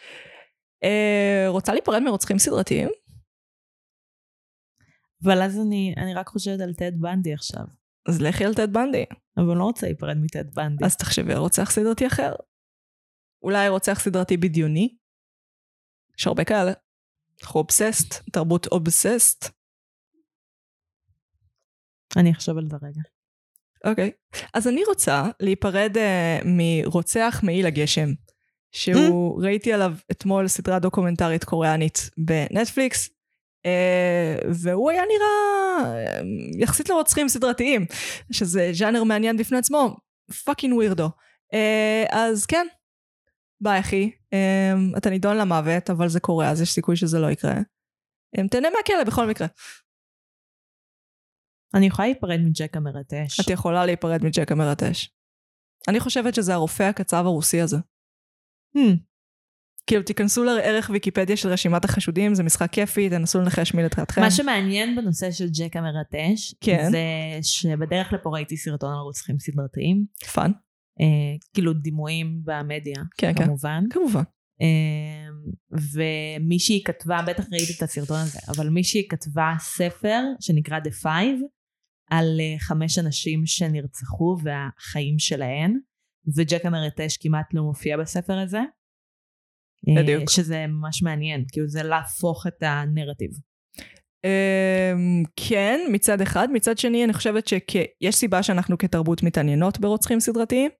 [SPEAKER 1] אה, רוצה להיפרד מרוצחים סדרתיים?
[SPEAKER 2] אבל אז אני, אני רק חושבת על טד בנדי עכשיו.
[SPEAKER 1] אז לכי על טד בנדי.
[SPEAKER 2] אבל אני לא רוצה להיפרד מטד בנדי.
[SPEAKER 1] אז תחשבי על רוצח סדרתי אחר. אולי רוצח סדרתי בדיוני? יש הרבה כאלה. אנחנו אובססט, תרבות אובססט.
[SPEAKER 2] אני אחשוב על זה רגע.
[SPEAKER 1] אוקיי. אז אני רוצה להיפרד uh, מרוצח מעיל הגשם, שהוא, ראיתי עליו אתמול סדרה דוקומנטרית קוריאנית בנטפליקס, uh, והוא היה נראה uh, יחסית לרוצחים סדרתיים, שזה ז'אנר מעניין בפני עצמו, פאקינג ווירדו. Uh, אז כן, ביי אחי, um, אתה נידון למוות, אבל זה קורה, אז יש סיכוי שזה לא יקרה. Um, תהנה מהכלא בכל מקרה.
[SPEAKER 2] אני יכולה להיפרד מג'ק המרטש.
[SPEAKER 1] את יכולה להיפרד מג'ק המרטש. אני חושבת שזה הרופא הקצב הרוסי הזה.
[SPEAKER 2] Hmm.
[SPEAKER 1] כאילו, תיכנסו לערך ויקיפדיה של רשימת החשודים, זה משחק כיפי, תנסו לנחש מי לתחילתכם.
[SPEAKER 2] מה שמעניין בנושא של ג'ק המרטש,
[SPEAKER 1] כן.
[SPEAKER 2] זה שבדרך לפה ראיתי סרטון על רוצחים סדרתיים,
[SPEAKER 1] פאן.
[SPEAKER 2] אה, כאילו דימויים במדיה,
[SPEAKER 1] כן, כן.
[SPEAKER 2] כמובן.
[SPEAKER 1] כמובן.
[SPEAKER 2] אה, ומישהי כתבה, בטח ראית את הסרטון הזה, אבל מישהי כתבה ספר שנקרא The Five, על אה, חמש אנשים שנרצחו והחיים שלהן, וג'ק המרטש כמעט לא מופיע בספר הזה. אה,
[SPEAKER 1] בדיוק.
[SPEAKER 2] שזה ממש מעניין, כאילו זה להפוך את הנרטיב.
[SPEAKER 1] אמ, כן, מצד אחד. מצד שני, אני חושבת שיש סיבה שאנחנו כתרבות מתעניינות ברוצחים סדרתיים.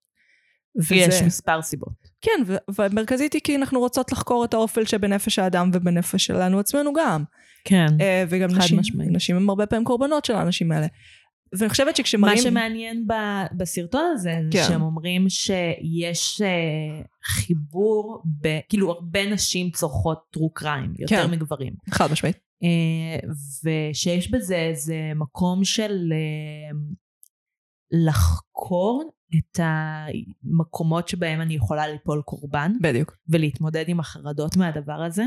[SPEAKER 1] וזה-
[SPEAKER 2] יש מספר סיבות.
[SPEAKER 1] כן, ו- והמרכזית היא כי אנחנו רוצות לחקור את האופל שבנפש האדם ובנפש שלנו עצמנו גם.
[SPEAKER 2] כן.
[SPEAKER 1] אה, וגם
[SPEAKER 2] חד
[SPEAKER 1] נשים,
[SPEAKER 2] משמעית.
[SPEAKER 1] נשים הם הרבה פעמים קורבנות של האנשים האלה. ואני חושבת
[SPEAKER 2] מה
[SPEAKER 1] שכשמראים...
[SPEAKER 2] שמעניין ב- בסרטון הזה, זה
[SPEAKER 1] כן.
[SPEAKER 2] שהם אומרים שיש אה, חיבור, ב, כאילו הרבה נשים צורכות טרו קריים, יותר
[SPEAKER 1] כן.
[SPEAKER 2] מגברים.
[SPEAKER 1] חד משמעית.
[SPEAKER 2] אה, ושיש בזה איזה מקום של אה, לחקור את המקומות שבהם אני יכולה ליפול קורבן,
[SPEAKER 1] בדיוק.
[SPEAKER 2] ולהתמודד עם החרדות מהדבר הזה,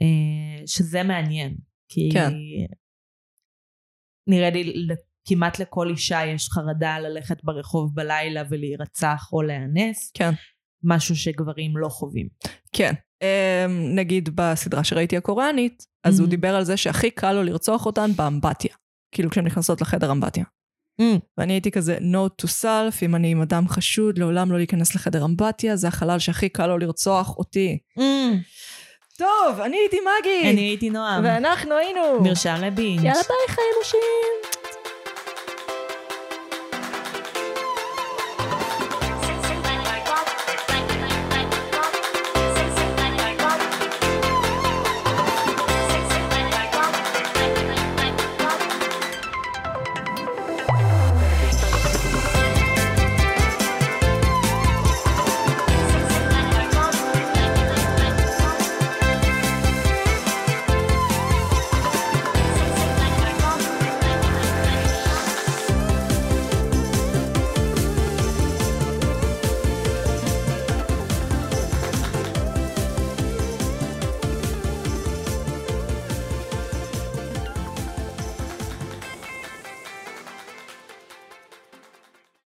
[SPEAKER 2] אה, שזה מעניין. כי
[SPEAKER 1] כן.
[SPEAKER 2] נראה לי ל- כמעט לכל אישה יש חרדה ללכת ברחוב בלילה ולהירצח או להיאנס,
[SPEAKER 1] כן.
[SPEAKER 2] משהו שגברים לא חווים.
[SPEAKER 1] כן. אמ, נגיד בסדרה שראיתי הקוריאנית, אז הוא
[SPEAKER 2] Mhm.
[SPEAKER 1] דיבר על זה שהכי קל לו לרצוח אותן באמבטיה. כאילו כשהן נכנסות לחדר אמבטיה.
[SPEAKER 2] Mm.
[SPEAKER 1] ואני הייתי כזה note to self, אם אני עם אדם חשוד, לעולם לא להיכנס לחדר אמבטיה, זה החלל שהכי קל לו לרצוח אותי. טוב, אני הייתי מגי!
[SPEAKER 2] אני הייתי נועם,
[SPEAKER 1] ואנחנו היינו...
[SPEAKER 2] מרשם לבינג'.
[SPEAKER 1] יאללה ביי חיים אנשים!